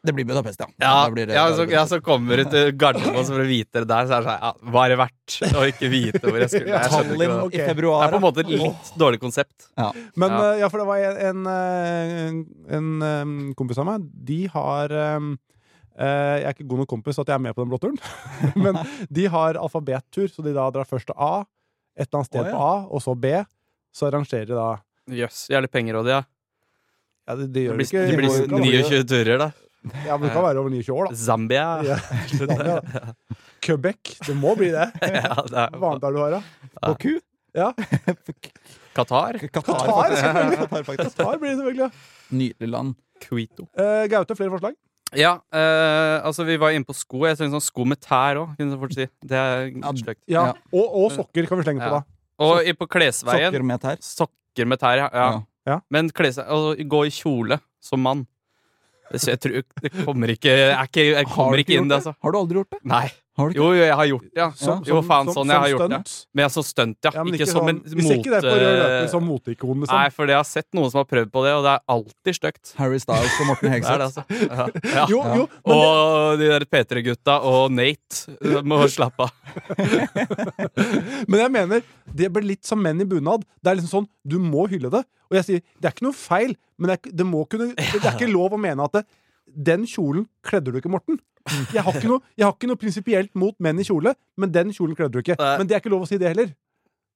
S2: Det blir Budapest, ja.
S5: Ja,
S2: Da blir det-
S5: ja,
S2: da
S5: så,
S2: blir det
S5: ja, så kommer du til Gardermoen så for å vite det der, så er det sånn ja, Var det verdt å ikke vite hvor jeg skulle? Jeg skjønner ikke
S2: Tallinn
S5: det.
S3: Ok.
S2: i
S5: Det
S2: februar.
S5: er på en måte et litt dårlig konsept.
S2: ja.
S3: Men
S5: Ja.
S3: eh, ja, for det var en, en, eh, en, eh, kompis av meg De har eh, eh, Jeg er ikke god nok kompis at jeg er med på den blåturen. Men de har alfabettur, så de da drar først til A, et eller annet sted
S2: Å, ja.
S3: på A, og så B. Så arrangerer de da
S5: Jøss, jævlig penger og det, ja.
S3: ja, de, de
S5: Det
S3: gjør det
S5: blir,
S3: ikke
S5: det blir
S3: det kan være-
S5: 29 turer, da.
S3: Ja, men det kan være over 29 år, da.
S5: Zambia.
S3: Ja. Ja, ja. Quebec. Det må bli det.
S5: Ja, det
S3: Hva
S5: er,
S3: annet er det du har, da?
S2: Og ku.
S3: Ja,
S5: Qatar.
S2: Qatar,
S3: Qatar,
S2: faktisk.
S3: selvfølgelig.
S2: Qatar, faktisk.
S3: Qatar blir det selvfølgelig. ja.
S2: Nydelig land.
S5: Quito.
S3: Eh, Gaute, flere forslag?
S5: Ja, eh, altså vi var inne på sko. Jeg syns sånn sko med tær òg, kunne jeg fort si. Det er sløkt.
S3: Ja.
S2: Ja.
S3: Og, og sokker kan vi slenge på,
S5: Ja.
S3: da.
S5: Og i- på klesveien
S2: Sokker med tær.
S5: Sokker med tær, ja. ja.
S2: Ja.
S3: Ja.
S5: Men kle seg og gå i kjole som mann. Så jeg tror Det kommer ikke Jeg, ikke, jeg
S2: Har du
S5: kommer ikke
S2: gjort
S5: inn, det, altså.
S2: Har du aldri gjort det?
S5: Nei.
S2: Har du ikke?
S5: Jo, jo, jeg har gjort det, ja.
S3: Som-
S5: jo,
S3: som-
S5: faen,
S3: som-
S5: sånn jeg har
S3: som
S5: gjort det.
S3: stunt.
S5: Men jeg er så stunt, ja.
S3: Ja, men
S5: ikke, som en
S3: Vi ser ikke det på rød løper som
S5: mote...
S3: moteikon.
S5: Nei,
S3: Liksom.
S5: for det- jeg har sett noen som har prøvd på det, og det er alltid stygt.
S2: Harry Styles og Morten
S5: Det er
S2: Hegseth.
S5: det, altså. Ja. Ja.
S3: Jo,
S2: Ja.
S3: jo, men det,
S5: Og de der P3-gutta og Nate eh, må slappe av.
S3: men jeg mener det blir litt som menn i bunad. Det er liksom sånn, Du må hylle det. Og jeg sier det er ikke noe feil, men det er, ikke- det, må kunne, det er ikke lov å mene at det, den kjolen kledde du ikke, Morten. Jeg har ikke noe, jeg har ikke noe prinsipielt mot menn i kjole, men den kjolen kledde du ikke.
S5: Nei.
S3: Men det er ikke lov å si det heller.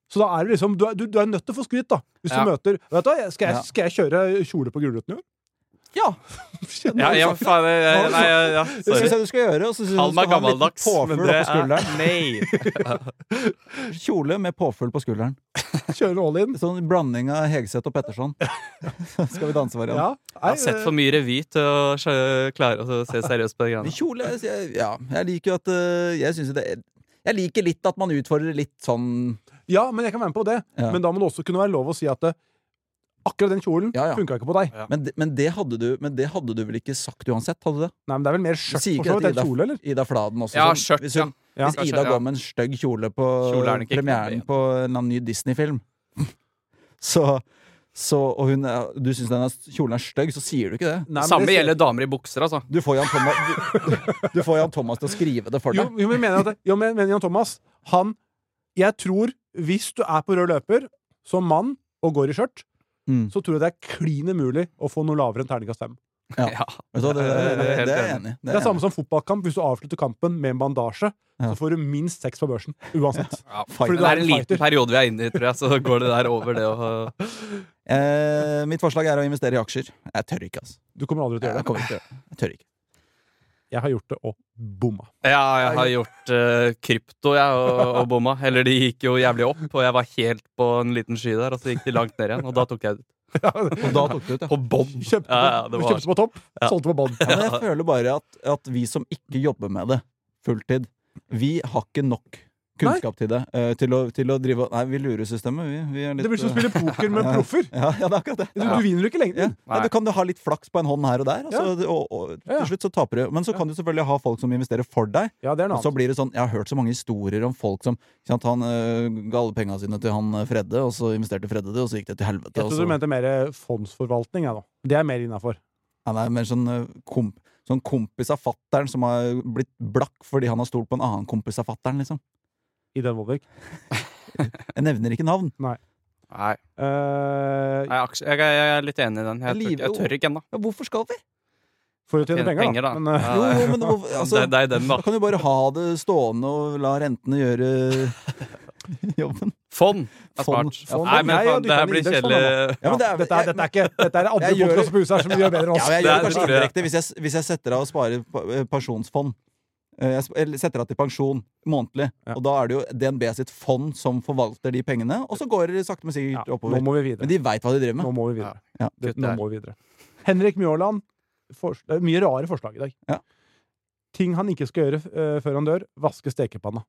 S3: Så da er det liksom, du er, du, du er nødt til å få skryt, da. Hvis
S5: Ja.
S3: du møter vet du, hva, skal,
S2: Ja.
S3: jeg, skal jeg kjøre kjole på Gulrøttene i år?
S2: Ja.
S3: Kjenner
S5: Ja,
S3: du
S5: ja,
S3: sånn?
S5: faen, jeg- jeg- nei, jeg- ja,
S2: Det syns
S5: sorry.
S2: jeg du skal gjøre. Og så syns jeg
S5: Kall
S2: du
S5: meg
S2: skal ha en liten
S5: gammeldags, men
S2: påfugl
S5: det
S2: på
S5: er
S2: skulderen.
S5: Nei.
S2: Kjole med påfugl på skulderen.
S3: Kjører all in?
S2: Sånn blanding av Hegseth og Petterson. Skal vi danse variant?
S3: Ja.
S5: Jeg har sett for mye revy til å skjø- klare å se seriøst på de
S2: Men
S5: greiene.
S2: kjole jeg- jeg, Ja, jeg liker jo at øh, Jeg synes jo det er- Jeg liker litt at man utfordrer litt sånn
S3: Ja, men jeg kan være med på det.
S2: Ja.
S3: Men da må det også kunne være lov å si at eh, akkurat den kjolen
S2: Ja, ja.
S3: funka ikke på deg.
S5: Ja.
S2: men, det- men, det hadde du, men det hadde du vel ikke sagt uansett, hadde du det?
S3: Nei, men det er vel mer skjørt
S2: Sier ikke
S3: for så vidt
S2: at
S3: enn kjole, eller?
S2: Ida Fladen også.
S5: Ja,
S2: sånn.
S5: skjørt,
S2: hvis, hun,
S3: ja.
S2: hvis
S5: Ja,
S2: Ida
S5: skjørt, ja.
S2: går med en stygg kjole på
S5: Kjole er det ikke
S2: premieren
S5: knapp i.
S2: på en eller annen ny Disney-film, så, så Og hun er, du syns denne kjolen er stygg, så sier du ikke det.
S3: Nei, men
S5: Samme
S3: det ser-
S5: gjelder damer i bukser, altså.
S2: Du får Jan Thomas, du, du får Jan Thomas til å skrive det for
S3: jo,
S2: deg.
S3: jo, men jeg mener at Jo, men men Jan Thomas, han Jeg tror hvis du er på rød løper som mann og går i skjørt,
S2: Mm.
S3: så tror jeg det er klin umulig å få noe lavere enn terningkast fem.
S2: Ja.
S5: Ja.
S2: Vet du hva, det, det, det, det,
S5: Jeg er helt
S2: er jeg
S5: enig.
S2: enig i.
S3: Det er samme som fotballkamp. Hvis du avslutter kampen med en bandasje,
S2: Ja.
S3: så får du minst seks på børsen. Uansett.
S5: Men
S3: Fordi du
S5: det
S3: er
S5: er en
S3: en
S5: liten
S3: fighter.
S5: periode vi er inne i, tror jeg, så går det der over, det å
S2: Eh, mitt forslag er å investere i aksjer. Jeg tør ikke, altså.
S3: Du kommer aldri til å gjøre
S2: Jeg
S3: det.
S2: kommer ikke til å gjøre det. Jeg tør ikke.
S3: Jeg har gjort det og bomma.
S5: Ja, jeg har gjort eh, krypto, jeg, og, og bomma. Eller de gikk jo jævlig opp, og jeg var helt på en liten sky der, og så gikk de langt ned igjen, og da tok jeg det.
S2: Og da tok du ut, ja.
S5: På bånn! Ja,
S3: Kjøpte,
S5: ja, det
S3: på-
S5: var
S3: kjøpte på topp, solgte på bånn.
S2: Ja, men jeg føler bare at, at vi som ikke jobber med det fulltid, vi har ikke nok kunnskap til det. eh, til, å, til å drive og- Nei, vi lurer systemet, vi. vi er litt,
S3: Det blir som å
S2: eh,
S3: spille poker med proffer.
S2: ja, ja, det er akkurat det.
S3: Du, du vinner jo ikke
S2: Ja.
S3: lengden.
S2: Ja, du kan jo ha litt flaks på en hånd her og der, og, så, og, og
S3: Ja.
S2: til slutt så taper du. Men så kan du selvfølgelig ha folk som investerer for deg.
S3: Ja, det er noe
S2: Og så
S3: annet.
S2: blir det sånn, Jeg har hørt så mange historier om folk som ikke sant, han, øh, ga alle penga sine til han eh, Fredde, og så investerte Fredde det, og så gikk det til helvete.
S3: Jeg
S2: og
S3: trodde
S2: så-
S3: du mente mer eh, fondsforvaltning. Jeg, da. Det er mer innafor.
S2: Han er mer sånn, eh, komp sånn kompis av fatteren som har blitt blakk fordi han har stolt på en annen kompis av fatteren, liksom.
S3: I den Volvik.
S2: Jeg nevner ikke navn.
S5: Nei,
S3: Eh,
S5: nei aksje, jeg, jeg er litt enig i den. Jeg tør, ikke- jeg tør ikke ennå.
S2: Ja, hvorfor skal vi?
S3: for å tjene
S5: Tjene
S3: penger,
S5: penger, da.
S3: da. Men, eh,
S5: Ja,
S2: Jo,
S5: det-
S2: jo, men hvorfor- altså,
S5: det, det er den, da.
S2: Da kan du bare ha det stående og la rentene gjøre jobben.
S5: Fond er
S2: Fond.
S5: smart.
S3: sånn,
S2: Fond.
S5: Nei, men
S3: Jeg har
S5: faen, det her
S3: dyttet
S5: blir
S3: ned indeksfond,
S5: kjedelig.
S2: Ja, men det er-
S3: sånn, dette, er, dette er ikke Dette er andre
S2: Jeg gjør-
S3: podkaster på huset her som gjør bedre enn
S2: Ja, men
S3: oss.
S2: jeg gjør
S5: Det
S2: det
S5: er-
S2: kanskje
S5: det tror jeg.
S2: indirekte hvis, jeg- hvis jeg setter av og sparer pa- eh, pensjonsfond. Eh, Jeg sp- eller setter av til pensjon månedlig,
S3: Ja.
S2: og da er det jo DNB sitt fond som forvalter de pengene, og så går det sakte, men sikkert
S3: Ja,
S2: oppover.
S3: nå må vi
S2: Men
S3: videre.
S2: de veit hva de driver med.
S3: Nå må vi videre.
S2: Ja,
S3: Det,
S5: kutt
S3: nå
S5: der.
S3: må vi videre. Henrik Mjåland. fors- det er mye rare forslag i dag.
S2: Ja.
S3: Ting han ikke skal gjøre eh, før han dør. Vaske stekepanna.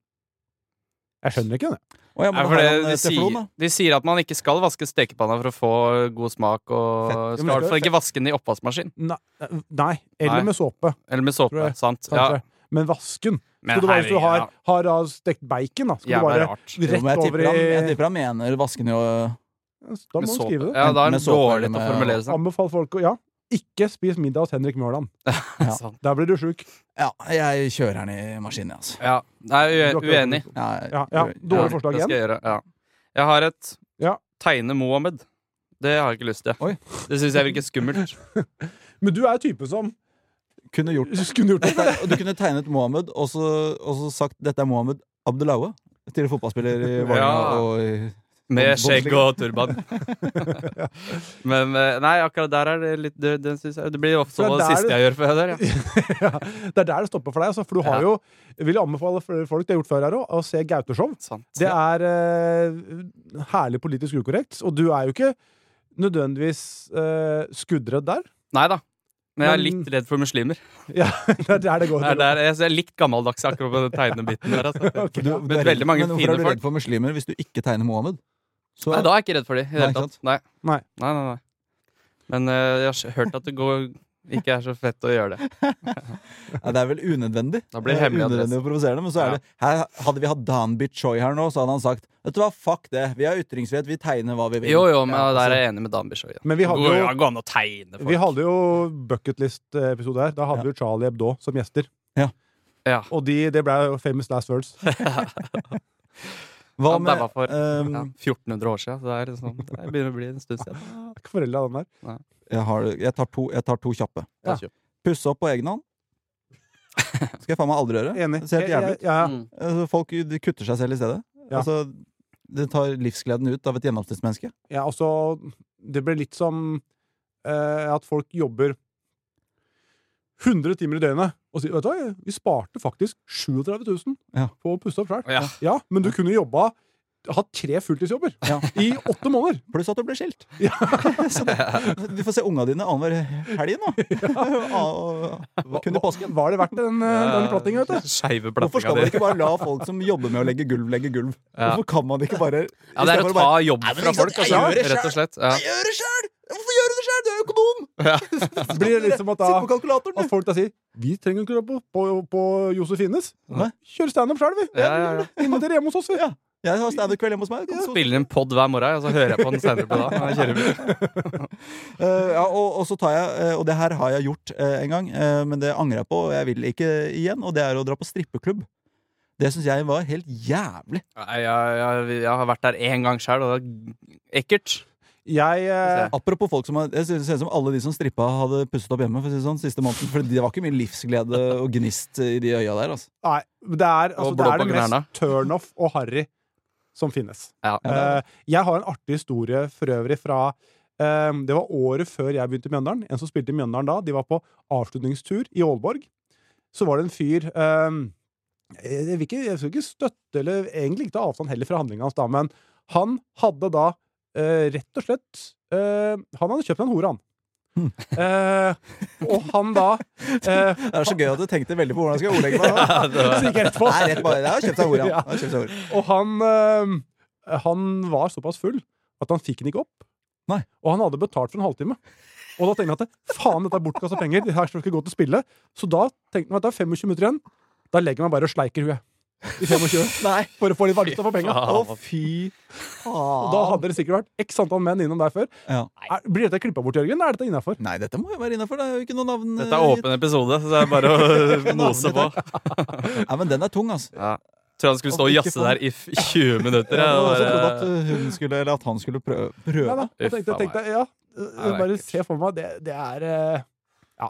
S3: Jeg skjønner ikke det.
S2: Å, ja, men
S5: Nei,
S2: da
S5: for
S2: har
S5: det,
S2: han, eh,
S5: de,
S2: teflon,
S5: sier,
S2: da.
S5: de sier at man ikke skal vaske stekepanna for å få god smak, og
S2: Fett.
S5: skal i hvert fall ikke vaske den i oppvaskmaskin.
S3: Nei, eh, nei. Eller
S5: Nei.
S3: med såpe,
S5: Eller med såpe.
S3: Tror jeg.
S5: Sant?
S3: kanskje. Men vasken
S5: Men
S3: Skulle du bare, hvis du har,
S5: herregud,
S3: har da stekt bacon, da, skulle du
S5: ja. Jævla
S3: bare
S5: rart.
S2: Jo, men
S3: rett
S2: jeg
S3: over
S2: tipper, han, jeg
S3: i
S2: tipper han mener vasken jo eh,
S3: Da må
S5: Med
S3: du
S5: såpe.
S3: skrive det.
S5: Ja, da er
S2: Enten
S5: det
S2: med såpe eller
S5: dårlig til å
S2: med-
S5: formulere seg.
S3: Anbefal folk å Ja, ikke spis middag hos Henrik Mjåland.
S2: Ja.
S5: Sant.
S3: Der blir du sjuk.
S2: Ja, jeg kjører den i maskinen, jeg, altså.
S5: Ja. Nei, jeg er ue- uenig.
S2: Jeg-
S3: Ja, ja. Dårlig
S5: Ja,
S3: forslag
S5: det
S3: igjen.
S5: skal Jeg, gjøre, ja. jeg har et
S3: Ja.
S5: tegne Mohammed. Det har jeg ikke lyst til.
S2: Oi.
S5: Det syns jeg virker skummelt.
S3: Men du er jo type som
S2: Kunne gjort
S3: skulle gjort det.
S2: Dette er- Du kunne tegnet Mohammed og så, og så sagt 'dette er Mohammed Abdelaue'. Tidligere fotballspiller i Vålerenga
S5: Ja.
S2: og i Bond-
S5: Med skjegg
S2: Bundesliga.
S5: og turban. Men eh, nei, akkurat der er det litt Det, det, synes jeg, det blir ofte
S3: For det
S5: det
S3: er
S5: siste
S3: det-
S5: jeg gjør før jeg dør. Ja.
S3: Ja, det er der det stopper for deg. Altså, for du har
S5: Ja.
S3: jo Jeg vil anbefale flere folk det har gjort før her også, å se Gauteshow.
S5: Sant.
S3: Det er eh, herlig politisk ukorrekt, og du er jo ikke nødvendigvis eh, skuddredd der.
S5: Nei da. Men jeg
S3: Men-
S5: er litt redd for muslimer.
S3: Ja, det er der det går.
S5: Det er der, jeg, så jeg er litt gammeldags akkurat på den tegnebiten der. Altså.
S2: Du-
S3: Ok.
S2: du er
S5: veldig
S2: redd-
S5: mange
S2: men hvorfor
S5: fine
S2: er du
S5: folk.
S2: redd for muslimer hvis du ikke tegner Mohammed? Så,
S5: Nei, da er jeg ikke redd for de i det
S2: Nei, ikke
S5: hele
S2: sant?
S5: tatt. Nei.
S3: Nei.
S5: Nei, nei, nei. Men eh, jeg har s- hørt at det går, ikke er så fett å gjøre det.
S2: Nei, det er vel unødvendig.
S5: Da blir
S2: Det
S5: det
S2: er
S5: hemmelig adresse.
S2: unødvendig og provoserende, men så er
S5: Ja.
S2: det her, Hadde vi hatt Dan Bichoy her nå, så hadde han sagt 'vet du hva, fuck det, vi har ytringsfrihet, vi tegner hva vi vil'.
S5: Jo, jo, men
S2: Ja,
S5: der er
S2: altså.
S5: jeg enig med Dan Bishoy. Ja.
S3: Men vi hadde jo-
S5: Det går an å tegne folk.
S3: Vi hadde jo bucketlist-episode her. Da hadde
S2: Ja.
S3: vi jo Charlie Hebdo som gjester.
S5: Ja.
S3: Og de, det ble jo famous last words.
S2: Hva
S5: Han
S2: med
S5: daua for
S2: ehm,
S5: ja, 1400 år siden, så det, er liksom, det begynner å bli en stund siden.
S3: Er ikke foreldre av den der.
S2: jeg, har, jeg, tar to, jeg tar to kjappe.
S3: Ja.
S2: Pusse opp på egen hånd. Skal jeg faen meg aldri gjøre.
S3: Enig.
S2: Det ser helt jævlig ut.
S3: Jeg- jeg-
S5: Mm.
S2: Altså, folk de kutter seg selv i stedet.
S3: Ja.
S2: Altså, det tar livsgleden ut av et gjennomsnittsmenneske.
S3: jeg- jeg- altså, det ble litt som eh, at folk jobber 100 timer i døgnet og sier Vet du hva, vi sparte faktisk 37 000
S2: Ja.
S3: på å pusse opp sjøl.
S5: Ja.
S3: Ja, men du kunne jobba Hatt tre fulltidsjobber
S2: Ja.
S3: i åtte måneder!
S2: Pluss at du blir skilt.
S3: Ja.
S2: Så det, du får se unga dine annenhver helg nå. Ja. Kun i påsken.
S3: Var det verdt den, eh, den plattinga, vet du?
S5: Skeive
S2: Hvorfor skal
S5: plattinga
S2: man
S5: di.
S2: ikke bare la folk som jobber med å legge gulv, legge gulv?
S5: Ja.
S2: Hvorfor kan man ikke bare
S5: Ja, det er å
S2: istedenfor
S5: ta
S2: bare,
S5: jobb
S2: Nei, men
S5: fra
S2: ikke sant,
S5: folk,
S2: jeg
S5: altså.
S2: gjør det selv.
S5: Rett og slett. Ja.
S2: Jeg gjør det sjæl! Hvorfor gjør du det sjæl? Du er jo økonom!
S3: Blir det liksom at da
S2: Sitt på kalkulatoren,
S3: At
S2: du!
S3: folk da sier Vi trenger ikke dra på, på, på Josefines.
S2: Nei.
S3: Kjør standup sjøl, vi!
S5: Ja, ja, ja.
S3: Inviter hjemme hos oss, vi!
S2: Ja. Jeg har standup-kveld hjemme hos meg. Kom, så-
S5: Spiller en pod hver morgen, og så hører jeg på den senere på dagen. når jeg kjører bil.
S2: Eh, ja, og, og så tar jeg, eh, og det her har jeg gjort eh, en gang, eh, men det angrer jeg på, og jeg vil ikke igjen, og det er å dra på strippeklubb. Det syns jeg var helt jævlig.
S5: Nei, jeg, jeg, jeg har vært der én gang sjøl, og det er ekkelt.
S3: Jeg eh,
S2: Apropos folk som har Det ser ser ut som alle de som strippa, hadde pusset opp hjemme for å si det sånn, siste måneden. For det var ikke mye livsglede og gnist i de øya der. Altså.
S3: Nei, det er, altså,
S5: Og
S3: det,
S5: blå
S3: er det
S5: baguanerna.
S3: mest turnoff og harry som finnes.
S5: Ja.
S3: Eh, jeg har en artig historie for øvrig fra eh, Det var året før jeg begynte i Mjøndalen. En som spilte i Mjøndalen da, de var på avslutningstur i Aalborg. Så var det en fyr eh, jeg, vil ikke, jeg skal ikke støtte eller egentlig ikke ta avstand heller fra handlinga hans, da, men han hadde da eh, rett og slett eh, Han hadde kjøpt en hore, han. Eh, og han da eh,
S2: Hmm. Det er så gøy at du tenkte veldig på hvordan jeg skal ordlegge meg. nå.
S3: Så gikk jeg rett på.
S2: Nei, rett bare, jeg har kjøpt seg ord, ja. Jeg har kjøpt seg ord.
S3: Og han, eh, han var såpass full at han fikk den ikke opp.
S2: Nei.
S3: Og han hadde betalt for en halvtime. Og da tenkte han at faen, dette er bortkasta penger. Det her skal ikke gå til å spille. Så da tenkte han at det er 25 minutter igjen. Da legger jeg meg bare og sleiker huet. I 25. Nei. For å få litt valuta for penga.
S5: faen.
S3: Å, fy Og Da hadde det sikkert vært x antall menn innom der før.
S2: Ja.
S3: Er, blir dette klippa bort, Jørgen? Er dette innafor?
S2: Nei, dette må jo være innafor. Det er jo ikke noe navn
S5: Dette er åpen episode, så det er bare å mose på.
S2: Nei, men den er tung, altså.
S5: Ja. Tror han skulle stå og jazze der i f- 20 minutter.
S2: Jeg
S5: Ja, eh,
S2: hadde også trodd at
S5: bare,
S2: uh, hun skulle, eller at han skulle prøve.
S3: Nei,
S2: prøve.
S3: da. Jeg tenkte,
S5: Uff,
S3: tenkte, ja,
S5: Nei, det er
S3: bare
S5: ekkelt.
S3: se for meg. Det, det er eh, ja.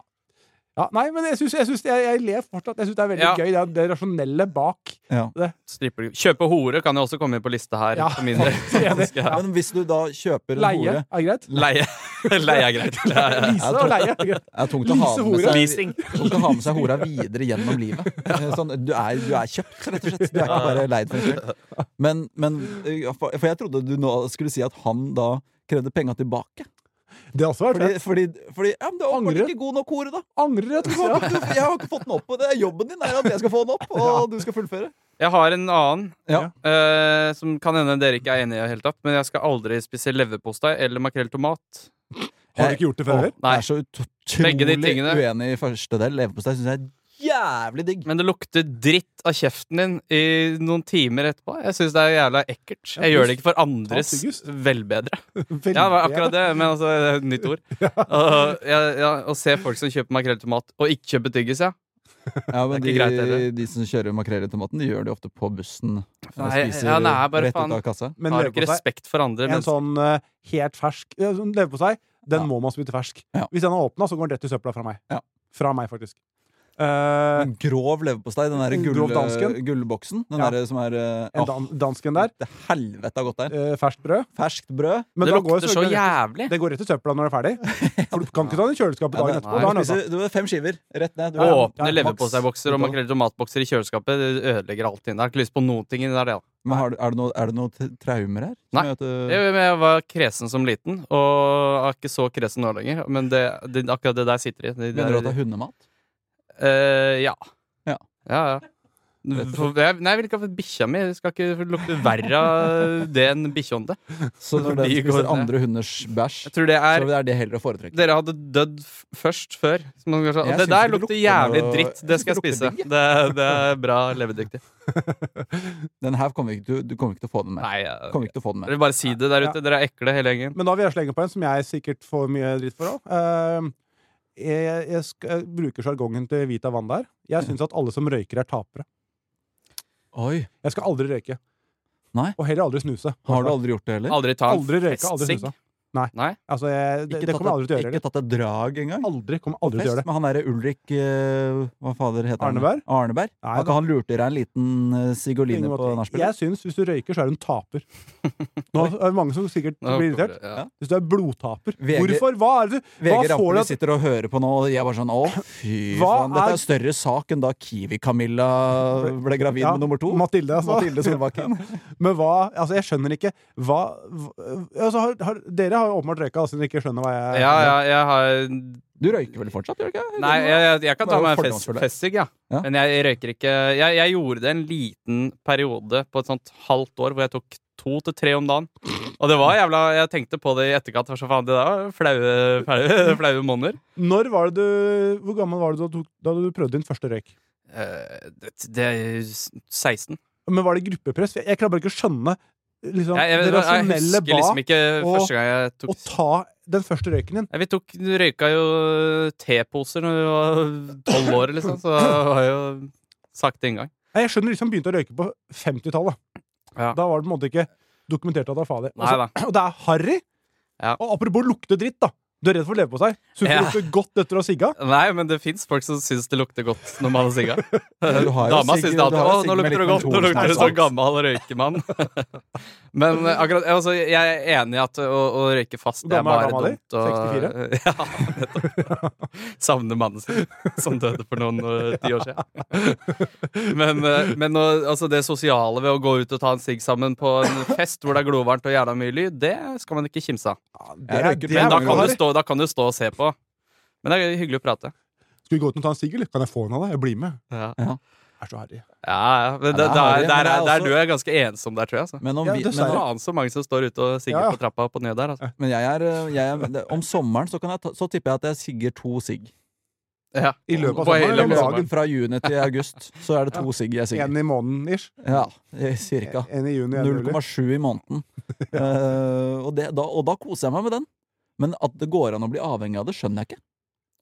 S3: ja. Nei, men jeg syns jeg, syns- jeg, jeg ler fortsatt. Jeg syns det er veldig
S5: Ja.
S3: gøy. Det, er det rasjonelle bak.
S2: Ja.
S5: stripper- Kjøpe hore kan jo også komme inn på lista her.
S3: Ja.
S5: For min del.
S3: Enig.
S5: Ja.
S2: Men hvis du da kjøper en
S3: Leie
S2: hore
S3: er greit.
S5: Leie. Leie er greit. Ja, ja.
S3: Lise og leie er greit.
S2: Det er tungt å ha
S3: Lise
S2: med
S3: hore.
S2: seg, tungt å ha med seg hora videre gjennom livet. Sånn, du, er, du er kjøpt, rett og slett. Du er ikke bare leid for en skyld. Men, men uh, for for jeg trodde du nå skulle si at han da krevde penga tilbake.
S3: Det har også vært
S2: Fordi,
S3: fett.
S2: fordi, fordi ja, men det var
S3: Angrer.
S2: kanskje ikke god nok hore, da.
S3: Angrer rett og
S2: Du,
S3: slett.
S2: jeg har ikke fått den opp. og Det er jobben din er at jeg skal få den opp, og du skal fullføre.
S5: Jeg har en annen
S2: Ja.
S5: eh, som kan hende dere ikke er enig i, i det hele tatt, men jeg skal aldri spise leverpostei eller makrell tomat.
S3: Har du ikke gjort det før?
S2: Jeg er så ut-
S5: Begge de
S2: utrolig
S5: tingene.
S2: uenig i første del. Leverpostei syns jeg er jævlig digg.
S5: Men det lukter dritt av kjeften din i noen timer etterpå. Jeg syns det er jævla ekkelt. Jeg gjør det ikke for andres
S3: tyggis.
S5: velbedre.
S3: Veldig.
S5: Ja, det var akkurat det, men altså, det er et nytt ord. Og, ja, ja, å se folk som kjøper makrell i tomat, og ikke kjøper tyggis, ja.
S2: Ja, men
S5: Det er ikke greit,
S2: de,
S5: heller.
S2: de som kjører makrell i tomaten, de gjør det ofte på bussen. og
S5: Nei,
S2: spiser
S5: ja, nei, bare
S2: rett
S5: faen.
S2: ut av kassa.
S3: Men
S5: Har ikke
S3: leverpostei
S5: respekt for andre
S3: En
S5: mennesker.
S3: sånn eh, helt fersk eh, sånn leverpostei, den
S2: Ja.
S3: må man spytte fersk.
S2: Ja.
S3: Hvis den er åpna, så går den rett i søpla fra meg.
S2: Ja.
S3: Fra meg, faktisk. Eh,
S2: En grov leverpostei, den der gull,
S3: Grov dansken.
S2: gullboksen. Den
S3: Ja.
S2: der som er eh,
S3: en dan dansken
S2: åh,
S3: der.
S2: Det helvete har gått der.
S3: eh, ferskt brød.
S2: Ferskt brød.
S3: Men
S5: det
S3: da går jo
S5: lukter så
S3: selvfølgelig-
S5: jævlig.
S3: Det går rett i søpla når det er ferdig. For du kan ikke ta den i kjøleskapet
S2: Ja,
S3: dagen
S2: det,
S3: etterpå.
S2: du
S3: Da er den
S2: spiser, du har fem skiver rett ned. Du,
S3: Ja, ja.
S5: Åpne
S3: maks.
S5: leverposteibokser og makrell i tomatbokser i kjøleskapet det ødelegger alt inni der. Jeg Har ikke lyst på noen ting inni der, ja.
S2: Men har, du- er det noen noe t- traumer her? Som
S5: Nei.
S2: gjør at du-
S3: Mm.
S5: Jeg, jeg var kresen som liten, og er ikke så kresen nå lenger. Men det, det, akkurat det der sitter i.
S2: Mener
S5: Det,
S2: du at det
S5: der,
S2: er hundemat?
S5: eh, ja.
S2: Ja.
S5: ja, ja. For, jeg, nei, jeg vil ikke ha bikkja mi. Det skal ikke lukte verre av det enn bikkjeånde.
S2: Så når den
S5: De går
S2: spiser
S5: ned.
S2: andre hunders bæsj,
S5: Jeg tror det
S2: så
S5: er
S2: er det heller å foretrekke.
S5: Dere hadde dødd f- først før. som man kanskje-
S2: Jeg synes
S5: Det der
S2: ikke det
S5: lukter
S2: lukter
S5: jævlig
S2: noe-
S5: dritt.
S2: jeg
S5: Det
S2: synes
S5: skal jeg
S2: det
S5: spise.
S2: lukter
S5: Det, det er bra levedyktig.
S2: Den her kommer ikke, du, du kommer ikke til å få den med.
S5: Nei,
S2: Du
S5: jeg
S2: Kommer ikke til å få den
S5: jeg
S2: med.
S5: vil bare si det der ute. Dere er ekle hele gjengen.
S3: Men da vil jeg slenge på en som jeg sikkert får mye dritt for òg. jeg, jeg, sk- jeg bruker sjargongen til Vita Vann der. Jeg syns at alle som røyker, er tapere.
S2: Oi,
S3: Jeg skal aldri røyke.
S2: Nei.
S3: Og heller aldri snuse.
S2: Har du aldri gjort det heller?
S5: Aldri ta en
S3: Aldri røyke, aldri
S5: festsigg.
S3: snusa. Nei.
S5: Nei.
S3: Altså, jeg, det, det kommer jeg aldri til å gjøre.
S2: Ikke
S3: eller?
S2: tatt et drag engang?
S3: Aldri, kommer aldri til å gjøre det.
S2: Men han derre Ulrik eh, Hva fader heter
S3: Arneberg?
S2: han? Arneberg?
S3: Nei,
S2: Har
S3: da-
S2: ikke han lurt dere en liten eh,
S3: Ingen
S2: Sigurline på
S3: måte.
S2: nachspiel?
S3: Jeg syns hvis du røyker, så er du en taper. Nå er det mange som sikkert
S5: Nå
S3: blir
S5: kommer
S3: irritert.
S5: det, ja.
S3: Hvis du er blodtaper.
S2: VG
S3: Hvorfor? Hva er det du
S2: VG
S3: Hva får du
S2: Rampeli
S3: at
S2: sitter og hører på nå, og jeg er bare sånn Å, fy
S3: Hva
S2: faen. Dette
S3: er-
S2: er større sak enn da Kiwi-Camilla ble gravid
S3: Ja,
S2: med nummer to.
S3: Mathilde, altså.
S2: Mathilde Solbakken.
S3: Men hva Altså, jeg skjønner ikke hva, hva altså, har, har, Dere har jo åpenbart røyka, altså, siden dere ikke skjønner hva jeg
S5: Ja, ja, jeg har
S2: Du røyker vel fortsatt, gjør du ikke?
S5: Nei, jeg, jeg, jeg kan ta
S2: Bare
S5: meg en fest-
S2: fordomsfull der.
S5: festsigg, ja.
S2: Ja.
S5: Men jeg røyker ikke jeg, jeg gjorde det en liten periode på et sånt halvt år hvor jeg tok to til tre om dagen. Og det var jævla Jeg tenkte på det i etterkant. for Så faen, det der var flaue, flaue, flaue måneder.
S3: Når var det du Hvor gammel var du da du, da du prøvde din første røyk?
S5: Eh, Det, det er 16.
S3: Men var det gruppepress? Jeg, jeg klarer bare ikke å skjønne liksom,
S5: Jeg, jeg,
S3: det
S5: jeg,
S3: rasjonelle
S5: husker liksom
S3: bak
S5: ikke
S3: og-
S5: første gang jeg
S3: å
S5: tok
S3: ta den første røyken din.
S5: Nei, Vi tok, røyka jo teposer når vi var tolv år, liksom. Så det var jo sakte inngang.
S3: Nei, Jeg skjønner de som begynte å røyke på 50-tallet.
S5: Ja.
S3: Da var det på en måte ikke dokumentert at det var farlig.
S5: Nei
S3: Altså, og det er harry,
S5: Ja.
S3: Og apropos lukte dritt, da. Du er redd for leverpostei. Syns du
S5: Ja.
S3: det lukter godt etter å ha sigga?
S5: Nei, men det fins folk som syns det lukter godt når man har sigga.
S2: Du har jo
S5: Dama
S2: sigg-
S5: syns
S2: du
S5: det alltid.
S2: har jo
S5: Å,
S2: sigg
S5: nå
S2: med
S5: lukter det
S2: litt
S5: godt! Nå lukter
S2: kontorsnei,
S5: det sånn
S2: sant?
S5: gammel røykemann. Men eh, akkurat, altså, jeg er enig i at å, å røyke fast
S3: Hvor
S5: det er
S3: gammel er
S5: bare
S3: dama di?
S5: dumt. Og, ja, nettopp. Savner mannen sin, som døde for noen eh, ti år siden. Men, eh, men å- altså, det sosiale ved å gå ut og ta en sigg sammen på en fest hvor det er glovarmt og jævla mye lyd, det skal man ikke kimse av.
S3: Det er-
S2: røyker
S3: det
S2: to
S3: er
S5: Men da
S2: ganger
S3: bra.
S5: kan, du stå, da kan du stå og se på. Men det er hyggelig å prate.
S3: Skal vi gå ut og ta en sigg, eller? Kan jeg få en av deg? Jeg blir med.
S5: Ja.
S3: Jeg er så harry.
S5: Ja, ja, men
S2: Ja, det
S5: der,
S2: er
S5: der,
S2: harry,
S5: der,
S2: men det er
S5: er- der
S2: også-
S5: du er ganske ensom der, tror jeg. Altså.
S2: Men om,
S3: Ja,
S2: vi, men,
S3: dessverre.
S2: om-
S5: Faen så mange som står ute og sigger
S3: Ja, ja.
S5: på trappa opp og ned der. Altså.
S2: men jeg er, eh, jeg er det- Om sommeren så, kan jeg ta, så tipper jeg at jeg sigger to sigg.
S5: Ja.
S3: I løpet av
S5: På
S3: sommeren,
S5: hele
S3: eller om
S5: sommeren.
S3: dagen?
S2: Fra juni til august så er det to sigg jeg sigger.
S3: En i måneden, ish.
S2: Ja, eh, cirka.
S3: En i juni, en i juli.
S2: 0,7 i måneden. Eh, og, det, da, og da koser jeg meg med den. Men at det går an å bli avhengig av det, skjønner jeg ikke.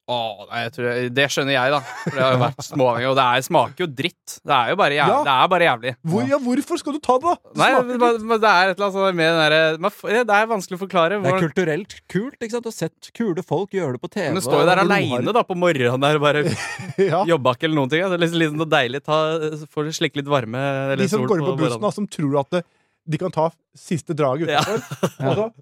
S5: Åh, nei, jeg tror jeg, det skjønner jeg, da. For det har jo vært småavhengig, og det er, smaker jo dritt. Det er jo bare jævlig.
S3: Ja.
S5: Det er bare jævlig.
S3: Hvor, ja, hvorfor skal du ta det, da? Det
S5: Nei,
S3: smaker
S5: men,
S3: dritt.
S5: men det er et eller annet sånn med den derre man f- Det er vanskelig å forklare.
S2: Det er
S5: Hvor,
S2: kulturelt kult. ikke sant? Du har sett kule folk gjøre det på TV.
S5: men du står jo der
S2: og-
S5: aleine da, på morgenen der og bare
S3: ja.
S5: jobba ikke eller noen ting. Det er liksom, liksom noe deilig ta, Får du slikke litt varme eller
S3: De som
S5: sol
S3: går inn på bussen,
S5: morgenen.
S3: da, som tror at det, de kan ta siste draget
S5: Ja.
S3: utenfor.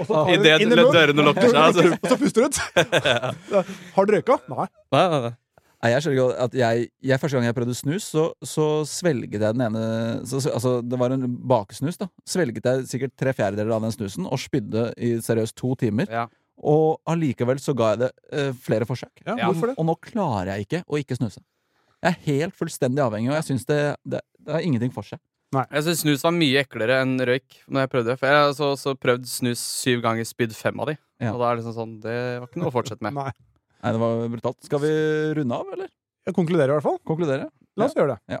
S3: Og så, og så tar
S5: I
S3: de
S5: det
S3: inn i munnen,
S5: dørene lukker seg,
S3: dørene lukker
S5: så-
S3: seg, og så puster du ut. Har du røyka? Nei.
S5: Nei, nei, nei.
S2: Nei, jeg skjønner ikke at jeg, jeg Første gang jeg prøvde snus, så, så svelget jeg den ene så, så- Altså, det var en bakesnus, da. Svelget jeg sikkert tre fjerdedeler av den snusen og spydde i seriøst to timer.
S5: Ja.
S2: Og allikevel så ga jeg det eh, flere forsøk.
S3: Ja,
S5: Ja.
S3: Hvorfor det?
S2: Og nå klarer jeg ikke å ikke snuse. Jeg er helt fullstendig avhengig, og jeg syns det, det, det har ingenting for seg.
S5: Jeg syns snus var mye eklere enn røyk. Når jeg prøvde det For jeg har så, så prøvd snus syv ganger, spydd fem av de.
S2: Ja.
S5: Og da er det liksom sånn Det var ikke noe å fortsette med.
S3: Nei.
S2: Nei, det var brutalt. Skal vi runde av, eller?
S3: Jeg konkluderer i hvert fall.
S2: Konkludere?
S3: La oss gjøre det.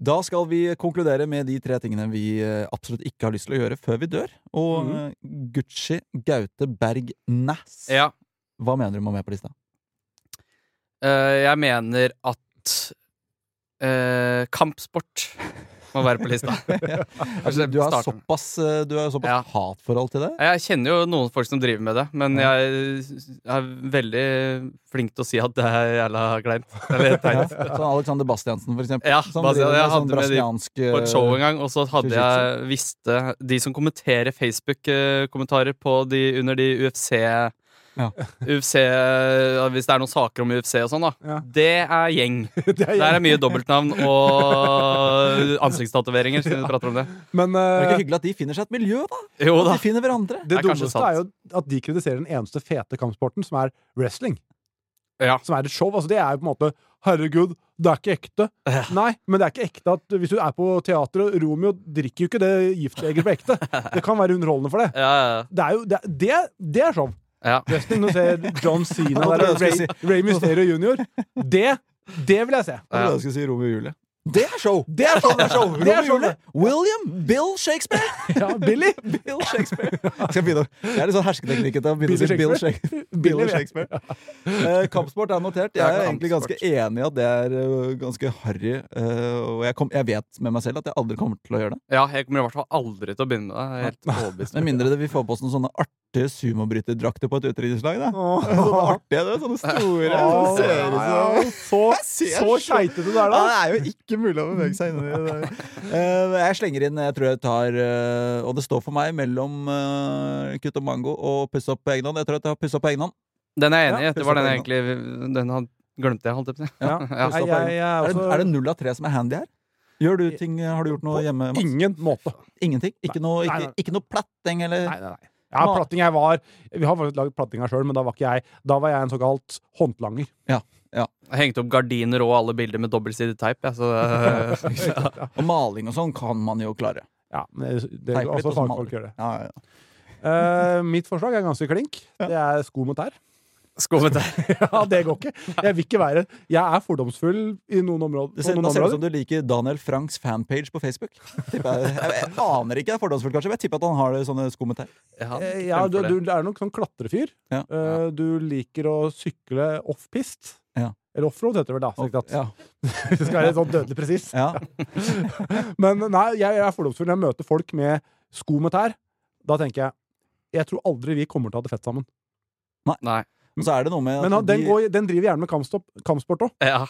S2: Da skal vi konkludere med de tre tingene vi eh, absolutt ikke har lyst til å gjøre før vi dør. Og eh, Gucci Gaute Berg Næss.
S5: Ja,
S2: Hva mener du må med på lista?
S5: eh, jeg mener at eh, kampsport må være på lista.
S2: Altså, du har
S5: starten.
S2: såpass, eh, du har såpass
S5: Ja.
S2: hatforhold til det.
S5: Jeg kjenner jo noen folk som driver med det, men jeg er veldig flink til å si at det er jævla kleint. Eller teit.
S2: Sånn Alexander Bastiansen, for eksempel.
S5: Ja,
S2: som
S5: Bastian,
S2: driver med
S5: jeg
S2: sånn
S5: hadde med de
S2: brasiliansk
S5: på et show en
S2: eh,
S5: gang, og så hadde jeg visste de som kommenterer Facebook-kommentarer på de under de UFC
S2: Ja.
S5: UFC ja, Hvis det er noen saker om UFC og sånn, da.
S3: Ja.
S5: Det er gjeng.
S3: Det er
S5: Der er
S3: jeg-
S5: mye dobbeltnavn og ansiktstatoveringer, siden vi prater om det.
S3: Men
S2: Er det
S3: eh,
S2: ikke hyggelig at de finner seg et miljø, da?
S5: Jo
S2: At
S5: da.
S2: de finner hverandre.
S3: det
S5: er kanskje
S3: dummeste
S5: sant.
S3: er jo at de kritiserer den eneste fete kampsporten, som er wrestling.
S5: Ja.
S3: Som er et show. Altså, det er jo på en måte Herregud, det er ikke ekte. Nei, men det er ikke ekte at hvis du er på teateret Romeo drikker jo ikke det giftlegeret på ekte. Det kan være underholdende for det.
S5: Ja, ja,
S3: Det er jo det, er- det, er- det er show.
S5: ja.
S3: Wrestling, når du ser John Cena
S2: Jeg
S3: eller
S2: trodde jeg
S3: Ray,
S2: skulle
S3: Ray Mysterio jr. Det, det vil jeg se.
S2: Hva var det jeg skulle si? Romeo og Julie. Det er show!
S3: Det er show! Det er show.
S2: Romeo
S3: Det er
S2: og
S3: show.
S2: Julie. William Bill Shakespeare!
S3: Ja, Billy.
S2: Bill Shakespeare. Skal jeg begynne å- Det er litt sånn hersketeknikken til å begynne å
S3: Billy
S2: si Bill
S3: Shakespeare.
S2: Shakespeare.
S3: Billy,
S2: Bill Shakespeare. Eh, kampsport er notert. Jeg er egentlig ganske enig i at det er eh, ganske harry. eh, og jeg, kom, jeg vet med meg selv at jeg aldri kommer til å gjøre det.
S5: ja, jeg kommer i hvert fall aldri til å begynne med det. Jeg er Helt overbevist. om
S2: Med mindre det vi får på oss noen sånne artige sumobryterdrakter på et utdrikningslag. da.
S3: Åh.
S2: Sånne artige, det, sånne store.
S3: Åh,
S2: som ser ut som
S3: Så, så keitete du er da.
S2: Ja, det er jo ikke mulig å bevege seg inni det der. Eh, jeg slenger inn Jeg tror jeg tar eh, Og det står for meg mellom eh, kutt og mango og pusse opp på egen hånd. Jeg tror jeg tar pusse opp på egen hånd.
S5: Den er jeg enig i.
S2: Ja,
S5: Det var den jeg
S2: puss opp
S5: egentlig Den han glemte jeg, holdt jeg på å si.
S3: Ja. Altså-
S5: Ja.
S3: Nei, jeg, jeg er
S2: Er det,
S3: også
S2: er det null av tre som er handy her? Gjør du ting, Har du gjort noe hjemme? Mats?
S3: ingen måte.
S2: Ingenting? Ikke noe,
S3: Nei,
S2: ikke,
S3: nei.
S2: ikke noe platting eller
S3: Nei, nei, nei. Ja, platting jeg var Vi har faktisk lagd plattinga sjøl, men da var ikke jeg Da var jeg en såkalt håndlanger.
S2: Ja, ja.
S5: Jeg hengte opp gardiner og alle bilder med dobbeltsidig teip. jeg, så det- ja.
S2: Og maling og sånn kan man jo klare.
S3: Ja, men det, det,
S2: Teipe litt,
S3: altså
S2: og så maler.
S3: fagfolk gjør det.
S2: Ja, ja, ja.
S3: Eh, mitt forslag er ganske klink. Det er sko mot tær.
S5: Skummet der.
S3: Ja, det går ikke. Jeg vil ikke være Jeg er fordomsfull i noen områder.
S2: Det
S3: på
S2: ser,
S3: noen
S2: nå ser det ut som
S3: områder.
S2: du liker Daniel Franks fanpage på Facebook. Tipper Jeg, jeg, jeg aner ikke, det er fordomsfullt kanskje, men jeg tipper at han har det sånne skommentarer.
S5: Ja,
S3: Eh, Ja,
S5: kjempe
S3: du,
S5: for det.
S3: du er nok sånn klatrefyr.
S2: Ja.
S3: Eh, Du liker å sykle offpist.
S2: Ja.
S3: Eller offroad, heter det vel da. strengt tatt.
S2: Ja,
S3: Hvis det skal være sånn dødelig presis.
S2: ja.
S3: Men nei, jeg, jeg er fordomsfull. Når jeg møter folk med sko med tær, da tenker jeg jeg tror aldri vi kommer til å ha det fett sammen.
S5: Nei.
S2: Men så er det noe med at
S3: Men han, den,
S2: altså, de-
S3: går, den driver gjerne med kampstopp, kampsport òg.
S5: Ja.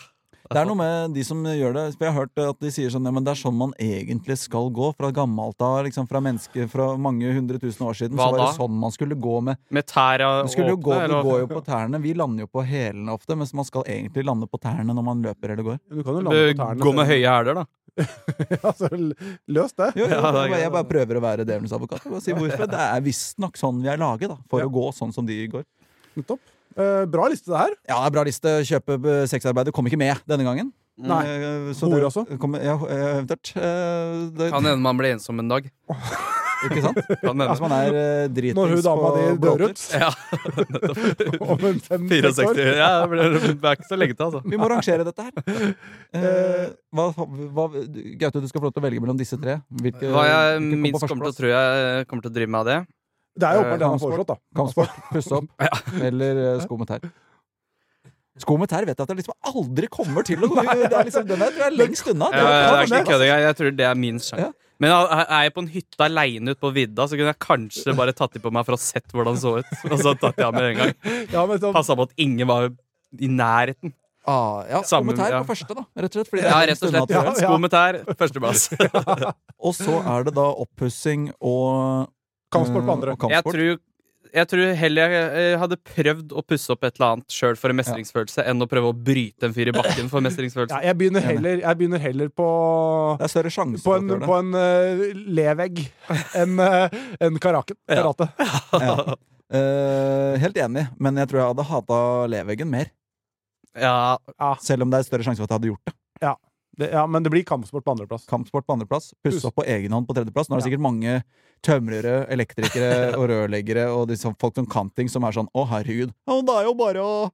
S2: Det er noe med de som gjør det. for Jeg har hørt at de sier sånn ja, men det er sånn man egentlig skal gå. Fra gammelt av, liksom fra mennesker fra mange hundre tusen år siden,
S5: Hva
S2: så var det
S5: da?
S2: sånn man skulle gå med.
S5: Med tæra
S2: Man skulle jo gå, du
S5: åpne, eller hva?
S2: går jo på tærne. Vi lander jo på hælene ofte, mens man skal egentlig lande på tærne når man løper eller går.
S3: Du kan jo lande
S5: Du,
S3: på tærne.
S5: Gå med høye hæler, da.
S3: altså, løs det.
S2: Jo, jo,
S5: Ja, det
S2: jeg,
S5: er greit.
S2: bare prøver å være djevelens advokat. og Si hvorfor. Det er visstnok sånn vi er laget, da. For
S3: Ja.
S2: å gå sånn som de går.
S3: Nettopp. Eh, bra liste, det her.
S2: Ja, bra liste. Kjøpe eh, sexarbeider kom ikke med denne gangen.
S3: Nei.
S2: Eh,
S3: Hore
S2: det-
S3: også?
S2: Kom, ja, eh, eventuelt. Eh, Det,
S5: Kan hende man blir ensom en dag.
S2: ikke sant?
S5: Kan hende.
S2: Hvis man er eh, dritings
S3: Når hun dama di
S2: på
S3: dør
S2: båttur.
S3: ut
S5: Ja.
S3: om en fem-seks
S5: 64.
S3: år.
S5: Ja, det blir- det er ikke så lenge til, altså.
S2: Vi må rangere dette her. Eh, hva, hva, Gaute, du skal få lov til å velge mellom disse tre. Hvilke,
S5: Hva jeg
S2: hvilke kom på
S5: minst
S2: første
S5: kommer til å
S2: plass?
S5: tro jeg eh, kommer til å drive med av det.
S3: Det er jo åpenbart det han har
S2: Kampsport.
S3: foreslått, da.
S2: Kampsport, pusse opp, eller eh, sko med tær. Sko med tær vet jeg at jeg liksom aldri kommer til å gå Det er liksom, Den der tror jeg er lengst unna.
S5: Ja, ja, det er
S2: Det
S5: ikke kødding. Eh, Jeg, jeg tror det er min sjanse.
S2: Ja.
S5: Men er er jeg på en hytte aleine ute på vidda, så kunne jeg kanskje bare tatt de på meg for å ha sett hvordan det så ut. Og så tatt jeg av med en gang.
S3: Ja, men så,
S5: Passa på at ingen var i nærheten.
S2: Ah, ja, sko
S5: Sammen,
S2: med tær
S5: ja.
S2: på første, da. Rett og slett. fordi det er
S5: Ja, rett
S2: lengst
S5: og
S2: unna,
S5: slett.
S2: tror jeg.
S3: ja.
S5: Sko med tær, førsteplass.
S2: Og så er det da oppussing og
S3: kampsport på andre.
S2: eh, og kampsport.
S5: Jeg tror, jeg tror heller jeg, jeg hadde prøvd å pusse opp et eller annet sjøl for en mestringsfølelse, enn å prøve å bryte en fyr i bakken for
S3: Ja,
S5: mestringsfølelse.
S3: jeg, begynner heller, jeg begynner heller på
S2: Det er større sjanse
S3: på
S2: for at du
S3: en,
S2: gjør det.
S3: på en eh, levegg enn eh, enn karaken. Karate.
S2: Ja. Eh, helt enig, men jeg tror jeg hadde hata leveggen mer.
S5: Ja,
S2: Selv om det er større sjanse for at jeg hadde gjort det.
S3: Det, ja, men det blir kampsport på andreplass.
S2: kampsport på andreplass, pusse
S3: Puss.
S2: opp på egen hånd på tredjeplass. Nå er det
S3: Ja.
S2: sikkert mange tømrere, elektrikere og rørleggere og de som- folk som kan ting, som er sånn 'Å, herregud, ja, men det er jo bare å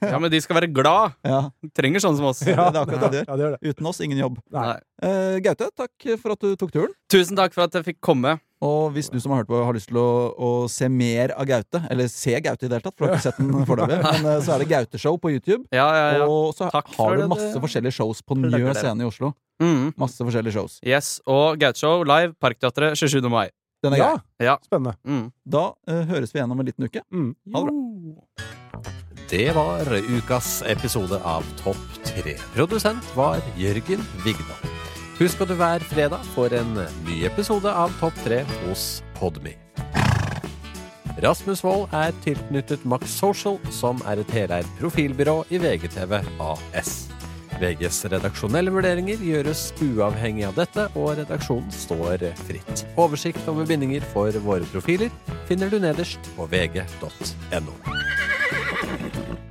S5: ja, men de skal være glad.
S2: Ja,
S5: Trenger sånne som oss.
S2: Ja, det er akkurat det de gjør.
S3: Ja, det gjør det.
S2: Uten oss, ingen jobb.
S3: Nei.
S5: Nei.
S2: Eh, Gaute, takk for at du tok turen.
S5: Tusen takk for at jeg fikk komme.
S2: Og hvis du som har hørt på, har lyst til å, å se mer av Gaute, eller se Gaute i det hele tatt, for du har ikke sett den foreløpig, men eh, så er det Gauteshow på YouTube.
S5: Ja, ja, ja.
S2: Og så
S5: Takk for
S2: har du
S5: det,
S2: masse
S5: det-
S2: forskjellige shows på
S5: det
S2: Njø
S5: er
S2: scene i Oslo.
S5: Mm.
S2: Masse forskjellige shows.
S5: Yes, og Gauteshow live, Parkteatret 27. mai.
S2: Den er
S3: Ja,
S2: grei.
S5: Ja.
S3: spennende.
S5: Mm.
S2: Da eh, høres vi igjen om en liten uke.
S3: Mm.
S2: Ha det bra.
S6: Det var ukas episode av Topp 3. Produsent var Jørgen Vigdal. Husk at du hver fredag får en ny episode av Topp 3 hos Podme. Rasmus Wold er tilknyttet Max Social, som er et heleid profilbyrå i VGTV AS. VGs redaksjonelle vurderinger gjøres uavhengig av dette, og redaksjonen står fritt. Oversikt over bindinger for våre profiler finner du nederst på vg.no.